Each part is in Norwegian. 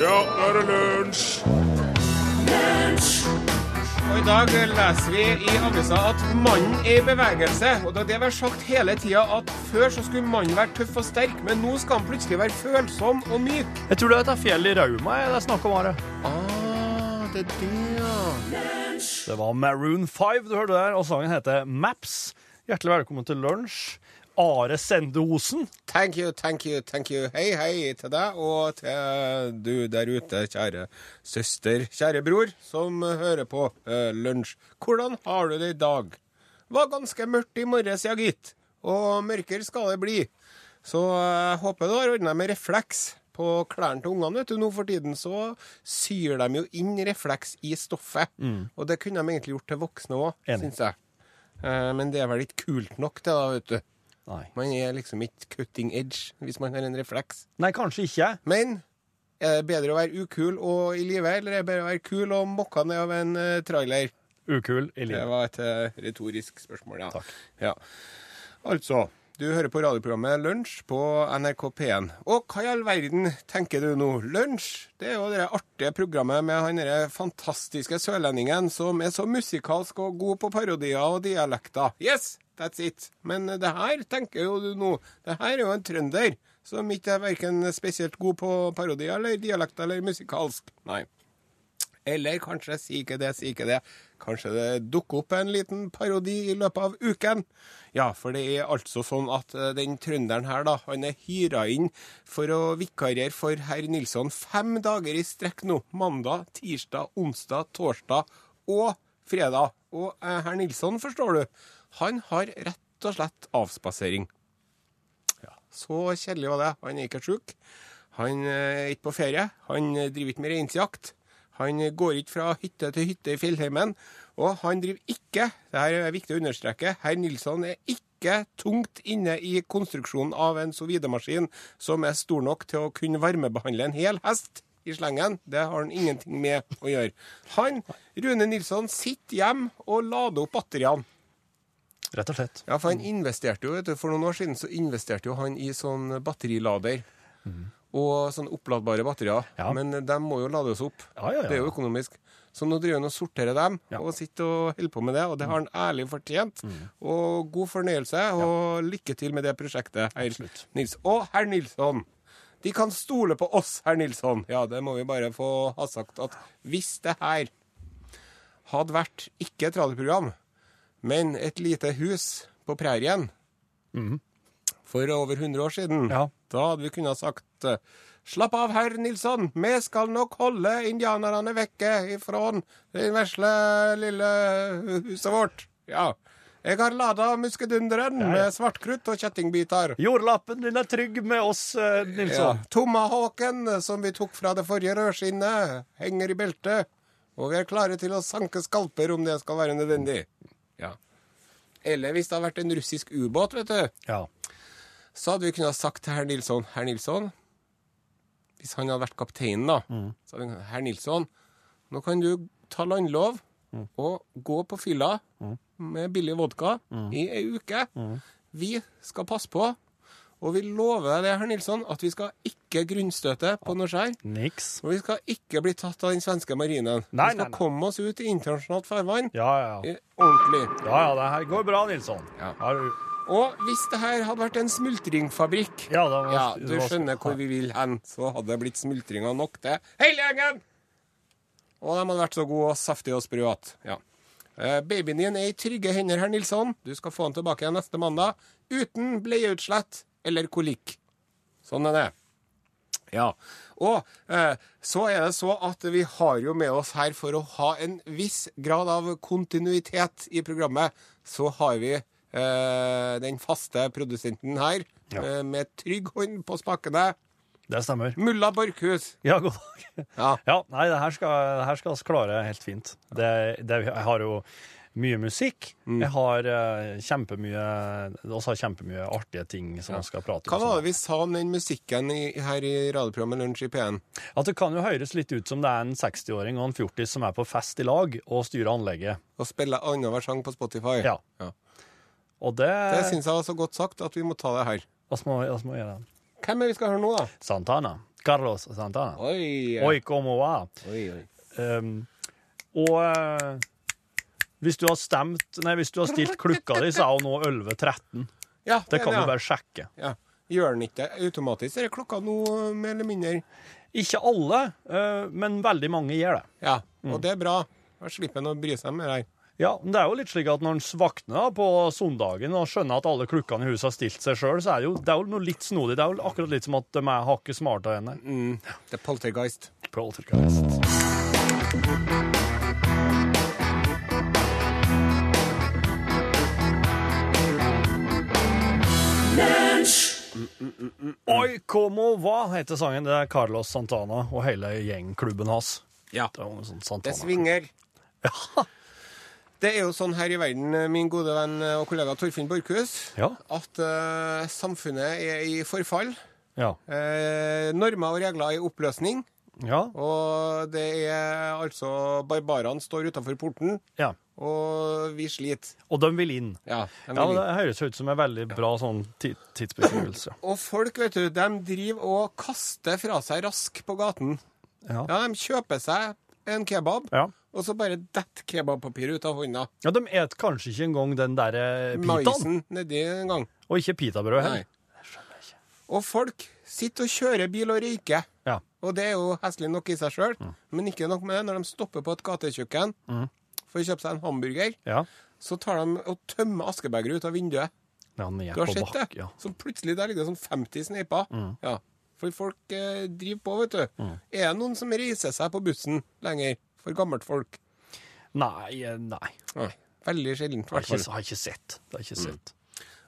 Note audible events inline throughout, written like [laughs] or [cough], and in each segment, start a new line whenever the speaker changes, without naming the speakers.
Ja, nå er det lunsj!
Og I dag leser vi i avisa at mannen er i bevegelse. Og da det var sagt hele tida at før så skulle mannen være tøff og sterk, men nå skal han plutselig være følsom og myk.
Jeg tror det er dette fjellet i Rauma jeg- det er snakk om her.
Ah, det er det, ja.
Det var Maroon 5 du hørte der, og sangen heter Maps. Hjertelig velkommen til lunsj. Are Sendeosen.
Thank you, thank you, thank you. Hei, hei til deg og til du der ute, kjære søster, kjære bror, som hører på eh, Lunsj. Hvordan har du det i dag? Var ganske mørkt i morges, ja gitt. Og mørkere skal det bli. Så jeg håper du har ordna med refleks på klærne til ungene. vet du. Nå for tiden så syr de jo inn refleks i stoffet. Og det kunne de egentlig gjort til voksne òg,
Enig.
syns jeg. Eh, Men det er vel ikke kult nok til da, vet du.
Nei.
Man er liksom ikke cutting edge hvis man har en refleks.
Nei, kanskje ikke.
Men er det bedre å være ukul og i live, eller er det bedre å være kul og mokka ned av en eh, trailer?
Ukul i
Det
livet.
var et eh, retorisk spørsmål, ja.
Takk.
ja. Altså, du hører på radioprogrammet Lunsj på NRK P1. Og hva i all verden tenker du nå? Lunsj, det er jo det der artige programmet med han derre fantastiske sørlendingen som er så musikalsk og god på parodier og dialekter. Yes, that's it. Men det her tenker jo du nå. Det her er jo en trønder som ikke er verken spesielt god på parodier eller dialekter eller musikalsk. Nei. Eller kanskje si ikke det, si ikke det. Kanskje det dukker opp en liten parodi i løpet av uken. Ja, for det er altså sånn at eh, den trønderen her, da, han er hyra inn for å vikariere for herr Nilsson fem dager i strekk nå. Mandag, tirsdag, onsdag, torsdag og fredag. Og eh, herr Nilsson, forstår du, han har rett og slett avspasering. Så kjedelig var det. Han er ikke sjuk. Han eh, er ikke på ferie. Han eh, driver ikke med reinsjakt. Han eh, går ikke fra hytte til hytte i fjellheimen. Og han driver ikke, det her er viktig å understreke, herr Nilsson er ikke tungt inne i konstruksjonen av en sovidemaskin som er stor nok til å kunne varmebehandle en hel hest i slengen. Det har han ingenting med å gjøre. Han, Rune Nilsson, sitter hjemme og lader opp batteriene.
Rett og slett.
Ja, for han investerte jo, vet du, for noen år siden så investerte jo han i sånn batterilader. Og sånn oppladbare batterier.
Mhm. Ja.
Men de må jo lades opp.
Ja, ja, ja.
Det er jo økonomisk. Så nå driver han og sorterer dem,
Ja. Mm.
og sitter og holder på med det. Og det har han ærlig fortjent. Og god fornøyelse, og lykke til med det prosjektet, herr
Absolutt.
Nils. Og herr Nilsson! De kan stole på oss, herr Nilsson. Ja, det må vi bare få ha sagt at hvis det her hadde vært ikke et radioprogram, men et lite hus på prærien for over 100 år siden.
Mhm. Ja.
Da hadde vi kunnet sagt eh, Slapp av, herr Nilsson, vi skal nok holde indianerne vekke ifra det vesle lille huset vårt. Ja. Jeg har lada muskedunderen
Ja, ja.
med svartkrutt og kjettingbiter.
Jordlappen din er trygg med oss, eh, Nilsson.
Ja. altså. Tomahawken, eh, som vi tok fra det forrige rødskinnet, henger i beltet. Og vi er klare til å sanke skalper om det skal være nødvendig. Ja. Eller hvis det har vært en russisk ubåt, vet du,
Ja.
så hadde vi kunnet ha sagt til herr Nilsson Herr Nilsson, hvis han hadde vært kapteinen, da,
Mm.
så hadde vi kunnet Herr Nilsson, nå kan du ta landlov
Mm.
og gå på fylla med billig vodka
Mm.
i ei uke. Vi skal passe på, og vi lover deg det, herr Nilsson, at vi skal ikke grunnstøte på noe skjær.
Niks.
Og vi skal ikke bli tatt av den svenske marinen.
Nei,
vi skal
nei, nei.
komme oss ut i internasjonalt farvann
Ja, ja, ja.
eh, ordentlig.
Ja, ja, det her går bra, Nilsson.
Ja.
Har du-
Og hvis det her hadde vært en smultringfabrikk
Ja, da var-
ja,
det
Du
var-
skjønner hvor vi vil hen. Så hadde det blitt smultringer nok til hele gjengen! Og de hadde vært så gode og saftige og sprø at ja. Eh, Babyen din er i trygge hender, herr Nilsson. Du skal få den tilbake igjen neste mandag. Uten bleieutslett eller kolikk. Sånn er det. Ja. Og eh, så er det så at vi har jo med oss her, for å ha en viss grad av kontinuitet i programmet, så har vi eh, den faste produsenten her,
Ja.
eh, med trygg hånd på spakene,
Det stemmer.
mulla Borchhus.
Ja, god dag.
Ja.
[laughs] Ja, nei, det her skal, det her skal vi klare helt fint. Det, det, jeg har jo mye musikk.
Mm.
Jeg har eh, kjempemye Vi har kjempemye artige ting som vi skal prate
Hva
om.
var det vi sa om den musikken i, her i radioprogrammet Lunsj i P1?
At det kan jo høres litt ut som det er en 60-åring og en 40 som er på fest i lag og styrer anlegget.
Å spille annenhver sang på Spotify?
Ja. Og det
Det syns jeg var så godt sagt at vi må ta det her.
Vi må, vi må gjøre det.
Hvem er vi skal høre nå, da?
Santana.
Carlos Santana.
Oi,
Oi, como va.
oi, oi.
Ehm,
Um, og eh, hvis du har stemt Nei, hvis du har stilt klokka di, så er hun nå 11.13.
Ja,
Det kan
ja.
du bare sjekke.
ja. Gjør den ikke det automatisk? Er det klokka nå, eh, mer eller mindre?
Ikke alle, eh, men veldig mange gjør det.
Ja, og det er bra. Da slipper en å bry seg med det her.
Ja, men det er jo litt slik at når en våkner da på søndagen og skjønner at alle klokkene i huset har stilt seg sjøl, så er det jo, det er jo noe litt snodig. Det er jo akkurat litt som at de er hakket smartere enn deg.
Det er poltergeist.
Poltergeist. Mm, Oi, como va, heter sangen. Det er Carlos Santana og hele gjengklubben hans.
Ja.
Det er jo en sånn
Det
Santana.
svinger. [laughs] Det er jo sånn her i verden, min gode venn eh, og kollega Torfinn Borchhus,
Ja.
at eh, samfunnet er i forfall.
Ja.
Eh, normer og regler er i oppløsning.
Ja.
Og det er altså Barbarene står utafor porten,
ja.
og vi sliter.
Og de vil inn.
Ja, de
Ja,
vil
det
inn.
høres ut som en veldig bra sånn ti- tidsbeskrivelse.
og folk vet du, de driver og kaster fra seg rask på gaten.
Ja.
Ja, De kjøper seg en kebab,
Ja.
og så bare detter kebabpapiret ut av hånda.
ja, de et kanskje ikke engang den der eh, pitaen,
Maisen nedi en gang.
og ikke pitabrød
Nei.
heller.
Og folk sitter og kjører bil og røyker.
Ja.
Og det er jo heslig nok i seg sjøl,
Mm.
men ikke nok med det. Når de stopper på et gatekjøkken for å kjøpe seg en hamburger,
Ja.
så tar de og tømmer askebegeret ut av vinduet.
ja, ned
Du har
på
sett det?
bakken, ja. Mm.
Så plutselig der ligger det sånn 50 sneiper. Ja. For folk eh, driver på, vet du. Er det noen som reiser seg på bussen lenger? For gammelt folk?
Nei, eh, nei.
Nei. Veldig sjeldent, i
Har
hvert fall.
ikke,
Mm.
har ikke sett. Det har ikke sett.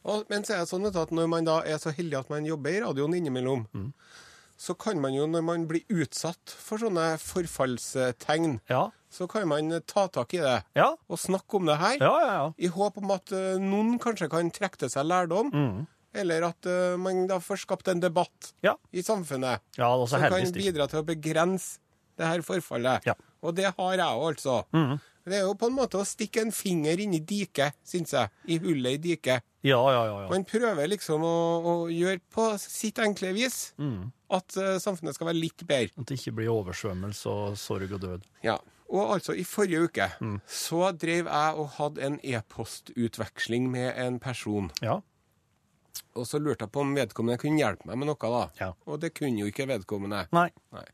Og- Men så er det sånn vet du, at når man da er så heldig at man jobber i radioen innimellom,
Mm.
så kan man jo, når man blir utsatt for sånne forfallstegn,
Ja.
så kan man ta tak i det
Ja.
og snakke om det her.
Ja, ja, ja.
I håp om at eh, noen kanskje kan trekke til seg lærdom,
Mm.
eller at eh, man da får skapt en debatt
Ja,
i samfunnet
ja altså
som kan
heldigvis ikke.
bidra til å begrense det her forfallet.
Ja. Mm.
Og det har jeg òg, altså. Det er jo på en måte å stikke en finger inn i diket, syns jeg. I hullet i diket.
Ja, ja, ja. ja.
Man prøver liksom å, å gjøre på sitt enkle vis
Mm.
at eh, samfunnet skal være litt bedre.
At det ikke blir oversvømmelse og sorg og død.
Ja. Og altså, i forrige uke
Mm.
så drev jeg og hadde en e-postutveksling med en person.
Ja.
Og så lurte jeg på om vedkommende kunne hjelpe meg med noe, da.
Ja.
Og det kunne jo ikke vedkommende.
Nei.
Nei.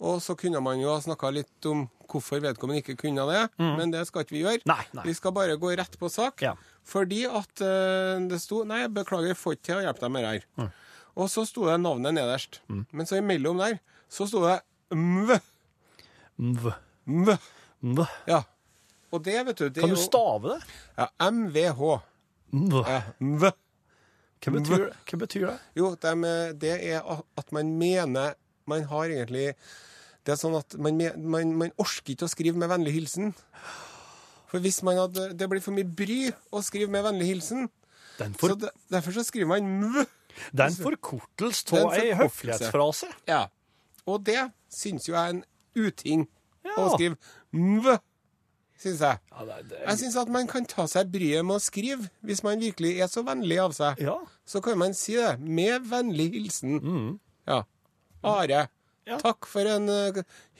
Og så kunne man jo ha snakka litt om hvorfor vedkommende ikke kunne det, men det skal ikke vi gjøre.
Mm. Nei, nei.
Vi skal bare gå rett på sak.
Ja.
Fordi at eh, det sto Nei, jeg beklager, jeg får ikke til å hjelpe deg med det her.
Mm.
Og så sto det navnet nederst. Men så imellom der så sto det MV.
Mv.
MV.
Mv.
Ja. Og det, vet du det
Kan
er
du
jo-
stave det?
Ja, MVH.
Mv.
Ja, MV.
Hva betyr, hva betyr det?
Jo, dem, eh, det er a- at man mener Man har egentlig Det er sånn at man, me- man, man orker ikke å skrive med vennlig hilsen. For hvis man hadde Det blir for mye bry å skrive med vennlig hilsen.
Den,
så
for,
de, derfor så skriver man mv.
det er en forkortelse
Den
av ei
forkortelse.
høflighetsfrase.
Ja. Og det syns jo jeg er en uting
Ja.
å skrive mv, syns jeg.
Ja, det, er- det, er-
Jeg syns at man kan ta seg bryet med å skrive, hvis man virkelig er så vennlig av seg.
ja.
så kan man si det med vennlig hilsen. Ja. Are,
Ja.
takk for en eh,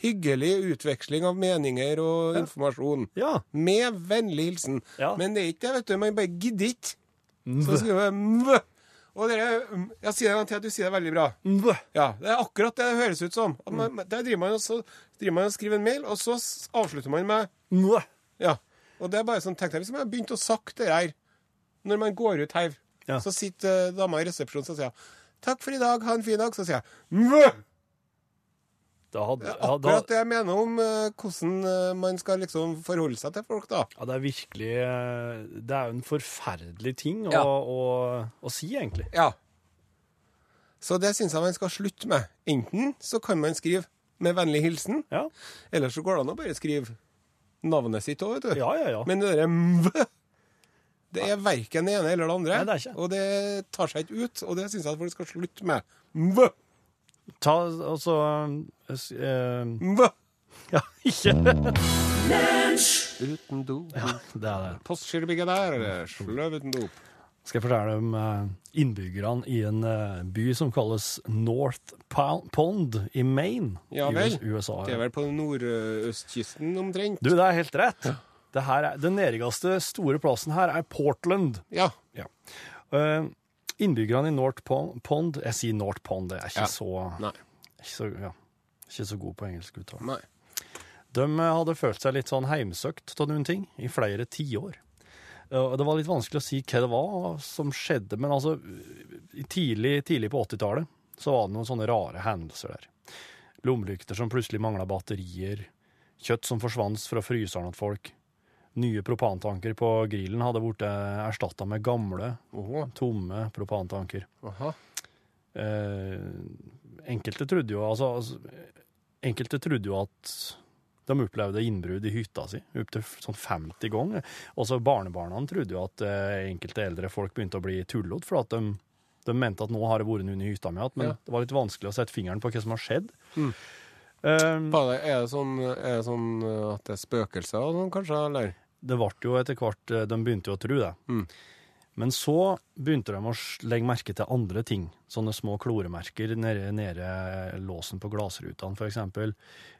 hyggelig utveksling av meninger og informasjon.
Ja.
Med vennlig hilsen.
Ja.
Men det er ikke det, vet du. Man bare gidder ikke.
Mv.
Så skriver man mv. Og dere, jeg sier det en gang til, at du sier det veldig bra.
Mv.
Ja, Det er akkurat det det høres ut som. At man,
Mm.
Der driver man, og så driver man og skriver en mail, og så s- avslutter man med
Mv.
ja. Og det er bare sånn, tenk deg hvis man hadde begynt å sagt det her når man går ut her,
Ja.
så sitter eh, dama i resepsjonen og sier hun, 'Takk for i dag, ha en fin dag', så sier jeg Mø!
Da hadde, ja, da,
Akkurat det jeg mener om eh, hvordan eh, man skal liksom forholde seg til folk, da.
ja, det er virkelig eh, Det er jo en forferdelig ting å,
Ja.
å, å si, egentlig.
Ja. Så det syns jeg man skal slutte med. Enten så kan man skrive 'med vennlig hilsen',
Ja,
eller så går det an å bare skrive navnet sitt òg, vet du.
ja, ja. ja.
Men det derre mv Det er verken det ene eller det andre.
Nei, det er ikke.
Og det tar seg ikke ut, og det syns jeg at folk skal slutte med. Mv,
Ta altså eh, s- eh,
mv.
Ja, [laughs] ikke
Uten do.
Det er det.
Postgirobygget der, sløv uten dop.
skal jeg fortelle om eh, innbyggerne i en eh, by som kalles North Pa- Pond i Maine
Ja
i
vel.
US- USA.
Det er vel på nordøstkysten omtrent?
Du, det er helt rett. Det her er, den nerigeste store plassen her er Portland.
Ja.
Eh, innbyggerne i North Pon- Pond Jeg sier North Pond, jeg er
Ja.
ikke så,
Nei.
ikke så, ja, ikke så god på engelsk uttale.
Nei.
De eh, hadde følt seg litt sånn heimsøkt av noen ting i flere tiår. Eh, og Det var litt vanskelig å si hva det var som skjedde, men altså i tidlig, tidlig på 80-tallet så var det noen sånne rare hendelser der. Lommelykter som plutselig mangla batterier, kjøtt som forsvant fra fryseren til folk, nye propantanker på grillen hadde blitt erstatta med gamle,
Åhå.
tomme propantanker.
Aha.
Eh, enkelte trodde jo altså, altså, Enkelte trodde jo at de opplevde innbrudd i hytta si opptil sånn 50 ganger. Også barnebarna trodde jo at eh, enkelte eldre folk begynte å bli tullete, for at de, de mente at nå har det vært noen i hytta mi igjen, men
Ja.
det var litt vanskelig å sette fingeren på hva som har skjedd.
Mm.
Eh,
Bare, er, det sånn, er det sånn eh, at det er spøkelser og sånn, kanskje? Eller?
det ble jo etter hvert eh, De begynte jo å tro det.
Mm.
Men så begynte de å s- legge merke til andre ting. Sånne små kloremerker nede, nede låsen på glassrutene, for eksempel.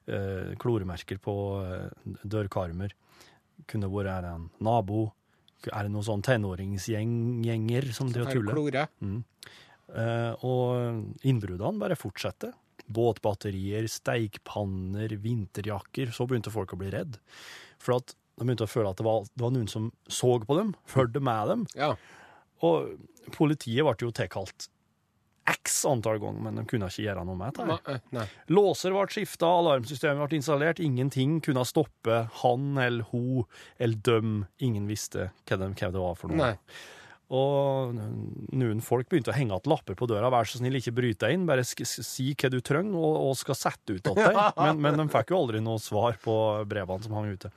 Eh, kloremerker på eh, dørkarmer. Kunne vært er det en nabo. Er det noen sånn tenåringsgjenger som driver og
Her klore?
tuller? Eh, og innbruddene bare fortsatte. Båtbatterier, steikpanner, vinterjakker. Så begynte folk å bli redd. For at de begynte å føle at det var, det var noen som så på dem, fulgte med dem.
Ja.
Og politiet ble jo tilkalt x antall ganger, men de kunne ikke gjøre noe med det.
Nei. eh, Nei.
Låser ble skifta, alarmsystemet ble installert, ingenting kunne stoppe han eller ho eller dem. Ingen visste hva de- hva det var for noe.
Nei.
Og noen folk begynte å henge att lapper på døra. Vær så snill, ikke bryt deg inn. Bare sk si hva du trenger, og, og skal sette ut til deg. Men, men de fikk jo aldri noe svar på brevene som hang ute.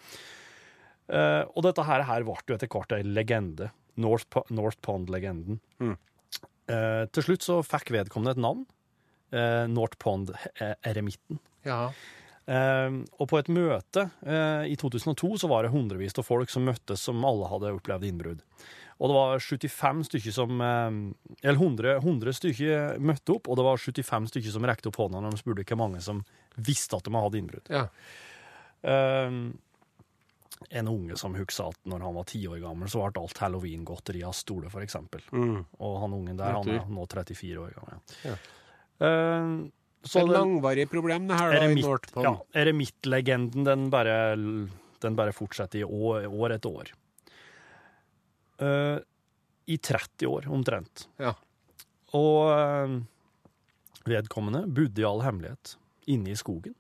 Eh, og dette her, her ble jo etter hvert ei legende. North, Po- North Pond-legenden.
Mm.
Eh, til slutt så fikk vedkommende et navn. Eh, North eh, Pond-eremitten.
Ja.
Eh, og på et møte eh, i 2002 så var det hundrevis av folk som møttes som alle hadde opplevd innbrudd. Og det var 75 stykker som eh, Eller 100, 100 stykker møtte opp, og det var 75 stykker som rekte opp hånda når de spurte hvor mange som visste at de hadde innbrudd.
Ja.
Ehm, en unge som huksa at når han var ti år gammel, så ble alt halloweengodteri av stole, for eksempel.
Mm.
Og han ungen der, han er
Nettopp.
nå 34 år gammel.
Ja.
Ehm,
Det
så
er et
den-
langvarig problem, det her, da, i
Eremitt,
Northpond.
ja, Eremittlegenden, den bare, den bare fortsetter i år, år etter år. Eh, I 30 år, omtrent.
Ja.
Og eh, vedkommende bodde i all hemmelighet inne i skogen.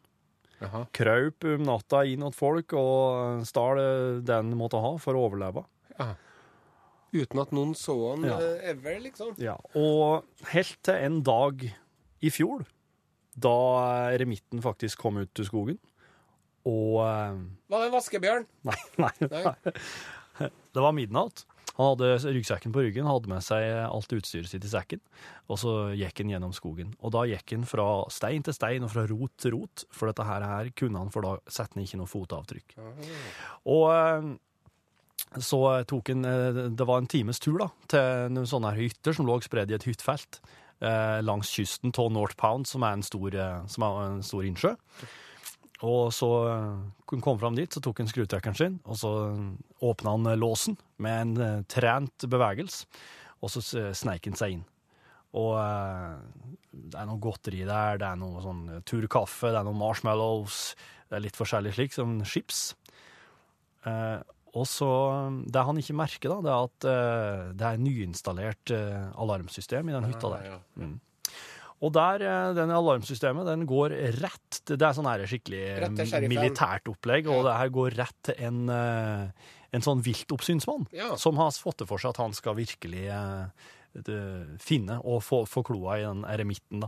Jaha.
Kraup om natta inn åt folk og stal eh, den måtte ha for å overleve.
Uten at noen så han
Ja.
eh, ever, liksom.
Ja, og helt til en dag i fjor, da remitten faktisk kom ut til skogen, og eh,
Var det en vaskebjørn?
Nei, nei,
Nei.
nei. Det var midnatt. Han hadde ryggsekken på ryggen, hadde med seg alt utstyret sitt i sekken, og så gikk han gjennom skogen. Og da gikk han fra stein til stein og fra rot til rot, for dette her, her kunne han, for da satte han ikke noe fotavtrykk. Og eh, så tok han eh, Det var en times tur da, til noen sånne her hytter som lå spredd i et hyttefelt eh, langs kysten av North Pound, som er en stor, eh, som er en stor innsjø. Og så eh, hun kom fram dit, så tok hun skrutrekkeren sin, og så eh, åpna han eh, låsen med en eh, trent bevegelse, og så s- sneik han seg inn. Og eh, det er noe godteri der, det er noe sånn eh, turkaffe, det er noen marshmallows, det er litt forskjellig slik, som chips. Eh, og så eh, Det han ikke merker, da, det er at eh, det er nyinstallert eh, alarmsystem i den hytta der.
Ah, Ja,
Og der, eh, den alarmsystemet, den går rett til, Det er sånn her skikkelig
Rett til
eh,
sheriffen.
militært opplegg, og
Ja.
det her går rett til en, eh, en sånn viltoppsynsmann
Ja.
som har fått det for seg at han skal virkelig eh, det- finne og få, få kloa i den eremitten, da.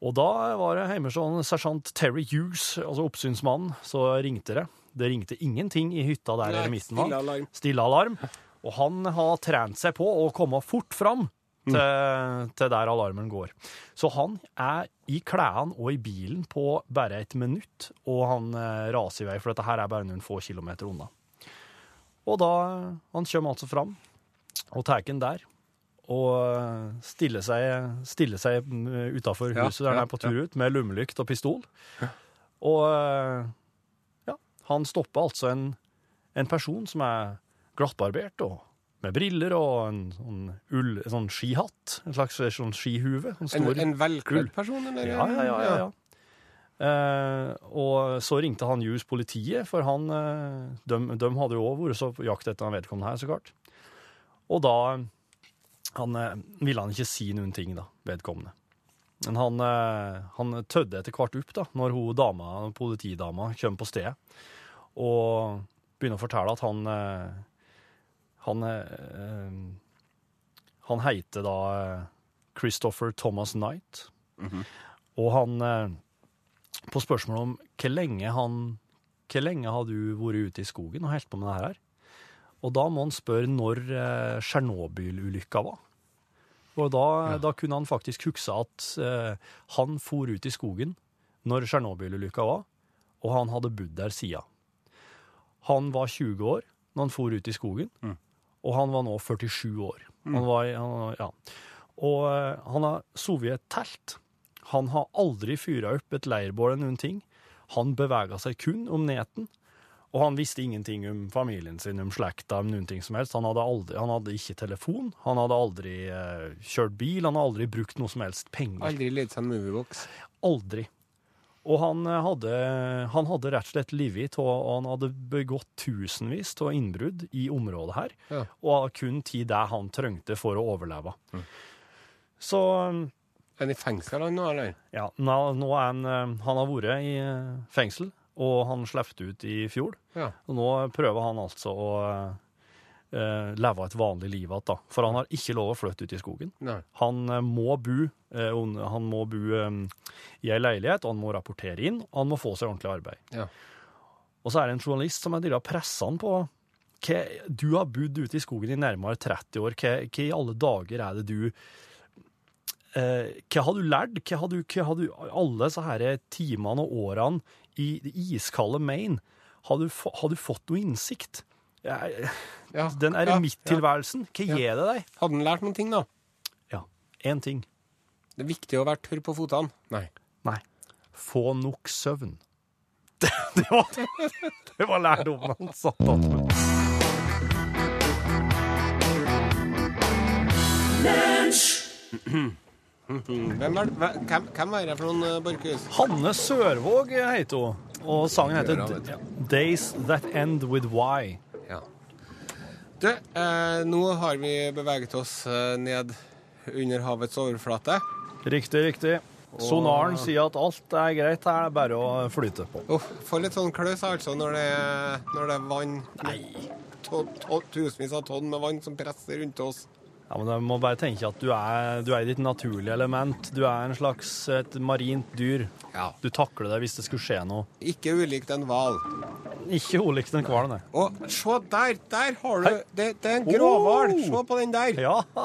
Og da var det hjemme sånn sersjant Terry Hughes, altså oppsynsmannen, så ringte det. Det ringte ingenting i hytta der
Nei,
eremitten var.
stille alarm.
Stille alarm. Og han har trent seg på å komme fort fram til, til der alarmen går. Så han er i klærne og i bilen på bare et minutt, og han eh, raser i vei, for dette her er bare noen få kilometer unna. Og da Han kommer altså fram og tar den der. Og eh, stiller seg, stiller seg utafor
Ja,
huset der han
ja,
er på tur ut, med lommelykt og pistol. Og eh, ja, han stopper altså en, en person som er glattbarbert og med briller og en sånn, ull, en sånn skihatt, en slags sånn skihuve. En
En,
stor
en
Gull.
velkledd person, eller?
ja, ja, ja, ja, ja. Eh, og så ringte han Hughes politiet, for han, eh, de, de hadde jo også vært så på jakt etter han vedkommende her, så klart. Og da han, eh, ville han ikke si noen ting, da, vedkommende. Men han, eh, han tødde etter hvert opp, da, når hun dama, politidama kom på stedet, og begynner å fortelle at han eh, Han eh, eh, Han heter da eh, Christopher Thomas Knight. Og han eh, På spørsmål om hvor lenge han Hvor lenge har du vært ute i skogen og holdt på med det her? Og da må han spørre når eh, Tsjernobyl-ulykka var. Og da, da kunne han faktisk huske at eh, han for ut i skogen når Tsjernobyl-ulykka var, og han hadde bodd der siden. Han var 20 år når han for ut i skogen,
Mm.
og han var nå 47 år. Han var, i- han, ja. Og eh, han har sovet i et telt. Han har aldri fyra opp et leirbål eller noen ting. Han bevega seg kun om neten, og han visste ingenting om familien sin, om slekta, om noen ting som helst. Han hadde, aldri, han hadde ikke telefon, han hadde aldri eh, kjørt bil, han hadde aldri brukt noe som helst penger.
Aldri lidd seg en moviebox.
Aldri. Og han eh, hadde, han hadde rett og slett livet av, og han hadde begått tusenvis av innbrudd i området her,
Ja.
og kun tid det han trengte for å overleve. Så
Er han i fengsel han nå, eller?
ja, nå, nå er han, eh, han har vært i eh, fengsel, og han sleppte ut i fjor.
Ja.
Og nå prøver han altså å eh, leve et vanlig liv igjen, da. For han har ikke lov å flytte ut i skogen.
Nei.
Han eh, må bo, eh, on- han må bo eh, i ei leilighet, og han må rapportere inn, og han må få seg ordentlig arbeid.
Ja.
Og så er det en journalist som har pressa han på hva, Du har bodd ute i skogen i nærmere 30 år, hva, hva i alle dager er det du eh, Hva har du lært? Hva har du, hva har du alle disse her timene og årene i det iskalde Maine? Har du, få- har du fått noe innsikt? Jeg-
Ja.
Den
ja, ja.
eremittilværelsen, hva
Ja.
gir det deg?
Hadde han lært noen ting, da?
Ja, én ting.
Det er viktig å være tørr på fotene. Nei.
Nei. Få nok søvn. [laughs] Det, det var, det var lærdommen han satt igjen med.
Hvem er, hva- hvem, hvem er det for noen, eh, Borchhus?
Hanne Sørvåg heter hun, og sangen heter
Gjør hun, vet
Days That End With Why.
Ja. Du, eh, nå har vi beveget oss eh, ned under havets overflate.
Riktig, riktig. Sonaren sier at alt er greit her, det er bare å flyte på.
Uff, får litt sånn kløs altså når det, når det er vann. Nei. To, to, tusenvis av tonn med vann som presser rundt oss.
Ja, men Du må bare tenke at du er, du er i ditt naturlige element. Du er en slags et marint dyr.
Ja.
Du takler det hvis det skulle skje noe.
Ikke ulikt en hval.
Ikke ulikt en hval, nei.
Og se der! Der har du
Hei.
Det, det er en gråhval!
Oh.
Se på den der!
Ja,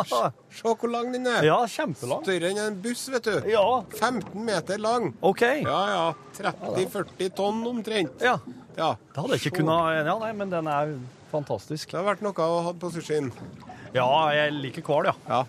Se hvor lang den er!
ja kjempelang.
Større enn en buss, vet du.
Ja,
15 meter lang.
OK.
Ja ja. 30-40 tonn omtrent.
Ja.
Ja.
Det hadde jeg ikke kunnet Ja, nei, men den er fantastisk.
Det har vært noe å ha på sushien.
Ja, jeg liker hval, ja.
Ja.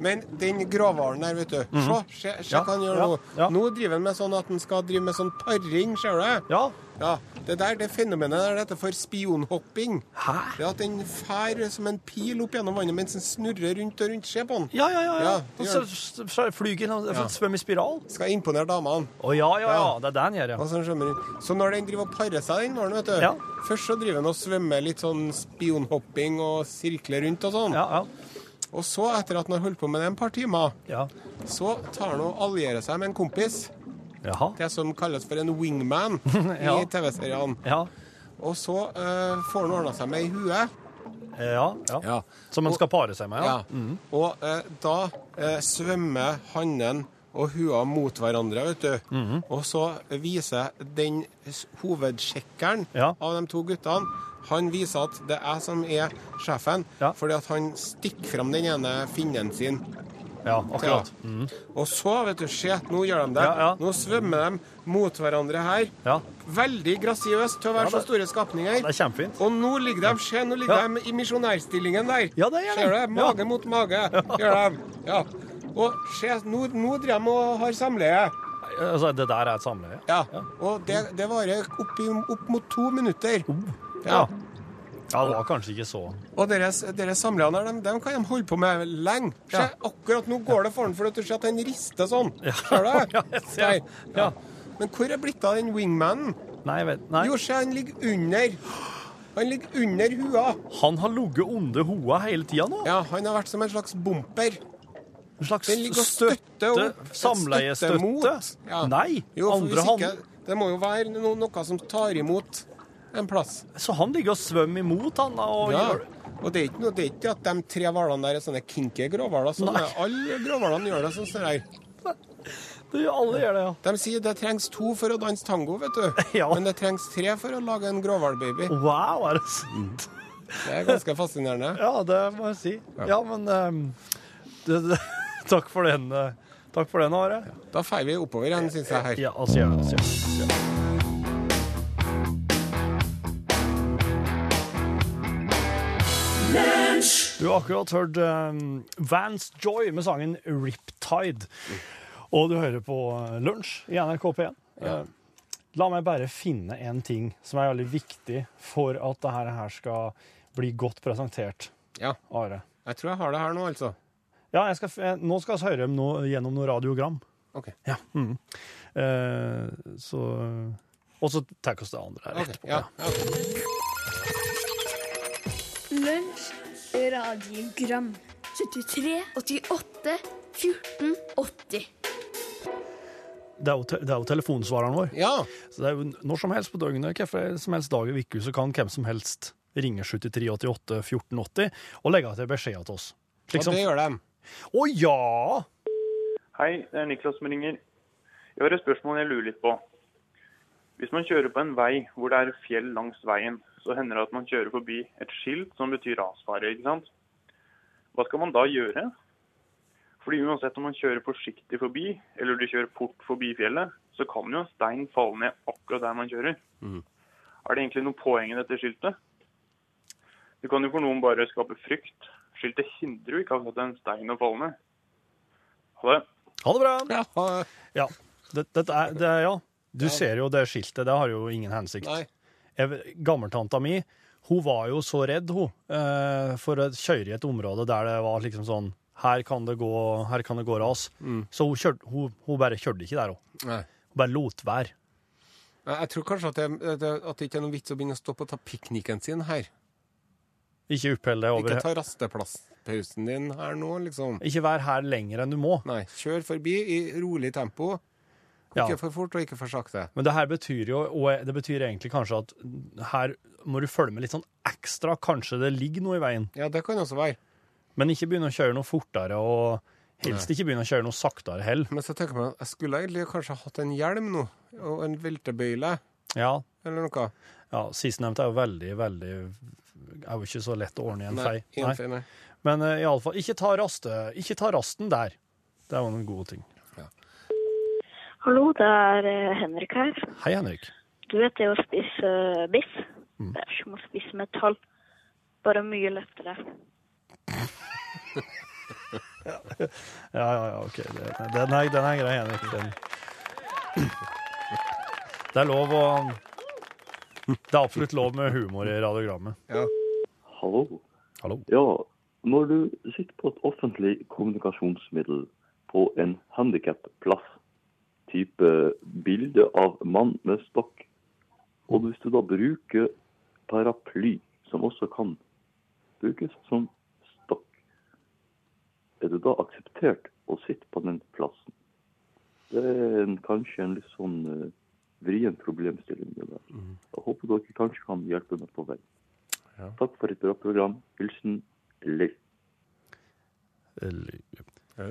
Men den gråhvalen der, vet du. Se, se, se
Mm. Mhm. Ja,
hva han gjør
ja,
nå.
ja.
Nå driver han med sånn at han skal drive med sånn paring, ser du?
Ja.
Ja. Det der, det fenomenet der, dette for spionhopping.
Hæ?
Det er at den fær som en pil opp gjennom vannet mens den snurrer rundt og rundt. Se på han.
Ja, ja, ja.
Ja,
ja. Og
gjør
så,
det.
så, så flyger han og svømmer i spiral.
Skal imponere damene.
Å ja, ja, ja.
Ja.
Det er det han gjør, ja.
Og Så, svømmer hun. så når den driver og parer seg, den hvalen, vet du
Ja.
Først så driver den og svømmer litt sånn spionhopping og sirkler rundt og sånn.
Ja, ja.
Og så, etter at den har holdt på med det en par timer,
ja.
så tar den og allierer seg med en kompis.
Jaha.
det som kalles for en wingman
[laughs] Ja.
i TV-seriene.
Ja.
Og så eh, får han ordna seg med ei hue.
Ja, ja.
Ja.
Som han skal pare seg med, ja.
Og eh, da eh, svømmer hannen og hua mot hverandre, vet du.
Mhm.
Og så viser den s- hovedsjekkeren
Ja.
av de to guttene han viser at det er jeg som er sjefen,
Ja.
fordi at han stikker fram den ene finnen sin.
Ja, akkurat.
Og så, vet du, se, nå gjør de det.
Ja, ja.
Nå svømmer de mot hverandre her.
Ja,
Veldig grasiøst til å være
Ja, det-
så store skapninger.
det er kjempefint.
Og nå ligger de, se, nå ligger
Ja.
de i misjonærstillingen der.
Ja, det gjør de.
Ser du? Mage
Ja.
mot mage gjør de. Ja. Og se, nå, nå driver de og har samleie.
Altså, det der er et samleie.
Ja. Og det, det varer opp, i, opp mot to minutter. Ja.
Oh. Ja. Ja, det var kanskje ikke så
Og deres, deres samleiene her, dem, dem kan de holde på med lenge. Se,
Ja.
akkurat nå går det for den, for at du ser at den rister sånn. Ser du?
[laughs] Ja, jeg ser.
Der.
Ja.
Men hvor er blitt av den wingmanen?
Nei, jeg vet Nei.
Jo, se, han ligger under. Han ligger under hua.
Han har ligget under hoa hele tida nå.
Ja, han har vært som en slags bumper.
En slags
Den ligger og
støtte.
støtter opp. Et
Samleiestøtte.
støttemot. Ja.
Nei.
Jo, for
andre
hvis
han,
ikke, det må jo være no, noe som tar imot en plass.
så han ligger og svømmer imot, han. da, Og
Ja.
gjør,
Og det er ikke noe, det er ikke at de tre hvalene der er sånne kinky gråhvaler. Sånn,
Nei.
alle gråhvalene gjør det sånn. som det her.
det, alle gjør det, ja.
De sier det trengs to for å danse tango, vet du.
[laughs] Ja.
Men det trengs tre for å lage en gråhvalbaby.
Wow, er det sant?
Det er ganske fascinerende.
Ja, det må jeg si. Ja, men ehm, det, det, [laughs] Takk for den, eh, takk for den, Are.
Da feier vi oppover igjen, syns jeg her.
Ja, altså, gjør det, altså, gjør det. Du har akkurat hørt um, Vance Joy med sangen Riptide. Og du hører på eh, Lunsj i NRK P1. Eh, La meg bare finne en ting som er veldig viktig for at det her- her skal bli godt presentert,
Ja.
Are.
Jeg tror jeg har det her nå, altså.
Ja, jeg skal, f- eh, nå skal vi høre om noe, gjennom noe radiogram.
OK.
Ja. Mm. Eh, så Og så tar vi oss det andre her
ok,
etterpå.
Ja.
ja.
ja.
Lunsj radiogram 73 88 14 80
Det er jo, te- det er jo telefonsvareren vår.
ja.
Så det er jo når som helst på døgnet, hvilken som helst dag i uka, så kan hvem som helst ringe 7388 1480 og legge til beskjed til oss. Slik
Og
som
det gjør de.
Å ja!
Hei, det er Niklas som ringer. Jeg har et spørsmål jeg lurer litt på. Hvis man kjører på en vei hvor det er fjell langs veien, så hender det at man kjører forbi et skilt som betyr rasfare, ikke sant? Hva skal man da gjøre? Fordi uansett om man kjører forsiktig forbi, eller du kjører fort forbi fjellet, så kan jo en stein falle ned akkurat der man kjører. Er det egentlig noe poeng i dette skiltet? Det kan jo for noen bare skape frykt. Skiltet hindrer jo ikke akkurat en stein å falle ned. Ha det.
Ha det bra!
Ja.
Ja. Det, dette er, det er, ja. Du ser jo det skiltet, det har jo ingen hensikt.
Nei.
Jeg- Gammeltanta mi hun var jo så redd hun, eh, for å kjøre i et område der det var liksom sånn Her kan det gå, her kan det gå ras.
Mm.
Så hun, kjørte, hun, hun bare kjørte ikke der, hun.
Nei.
Hun bare lot være.
Nei, Jeg tror kanskje at det, det, at det ikke er noen vits å begynne å stoppe og ta pikniken sin her.
Ikke upphell det over
Ikke ta rasteplasspausen din her nå, liksom.
Ikke vær her lenger enn du må.
Nei, kjør forbi i rolig tempo.
Ja.
Ikke for fort og ikke for sakte.
Men det her betyr jo, og det betyr egentlig kanskje at her må du følge med litt sånn ekstra. Kanskje det ligger noe i veien,
Ja, det kan også være.
men ikke begynne å kjøre noe fortere, og helst ikke begynne å kjøre noe saktere heller.
Men så tenker man jeg skulle egentlig kanskje hatt en hjelm nå, og en veltebøyle
Ja,
eller noe.
ja sistnevnte er jo veldig, veldig er jo ikke så lett å ordne i en fei.
ingen
Nei.
fei, nei.
Men eh, i alle fall, ikke ta, raste, ikke ta rasten der. Det er jo en god ting.
Hallo, det er eh, Henrik her.
Hei, Henrik.
Du vet det å spise eh, biff? Det er som å spise metall, bare mye lettere.
Ja, ja, ja, ok. Det- Den er, den er grei, Henrik. Den. [clears throat] Det er lov å Det er absolutt lov med humor i radiogrammet.
Hallo.
Hallo.
Ja, når du sitter på et offentlig kommunikasjonsmiddel på en handikapplass, type bilde av mann med stokk, og hvis du da bruker paraply, som også kan brukes som stokk, er det da akseptert å sitte på den plassen? Det er en, kanskje en litt sånn eh, vrien problemstilling. det der. Jeg håper dere kanskje kan hjelpe meg på vei. Takk for et bra program. Hilsen Leif.
Eh,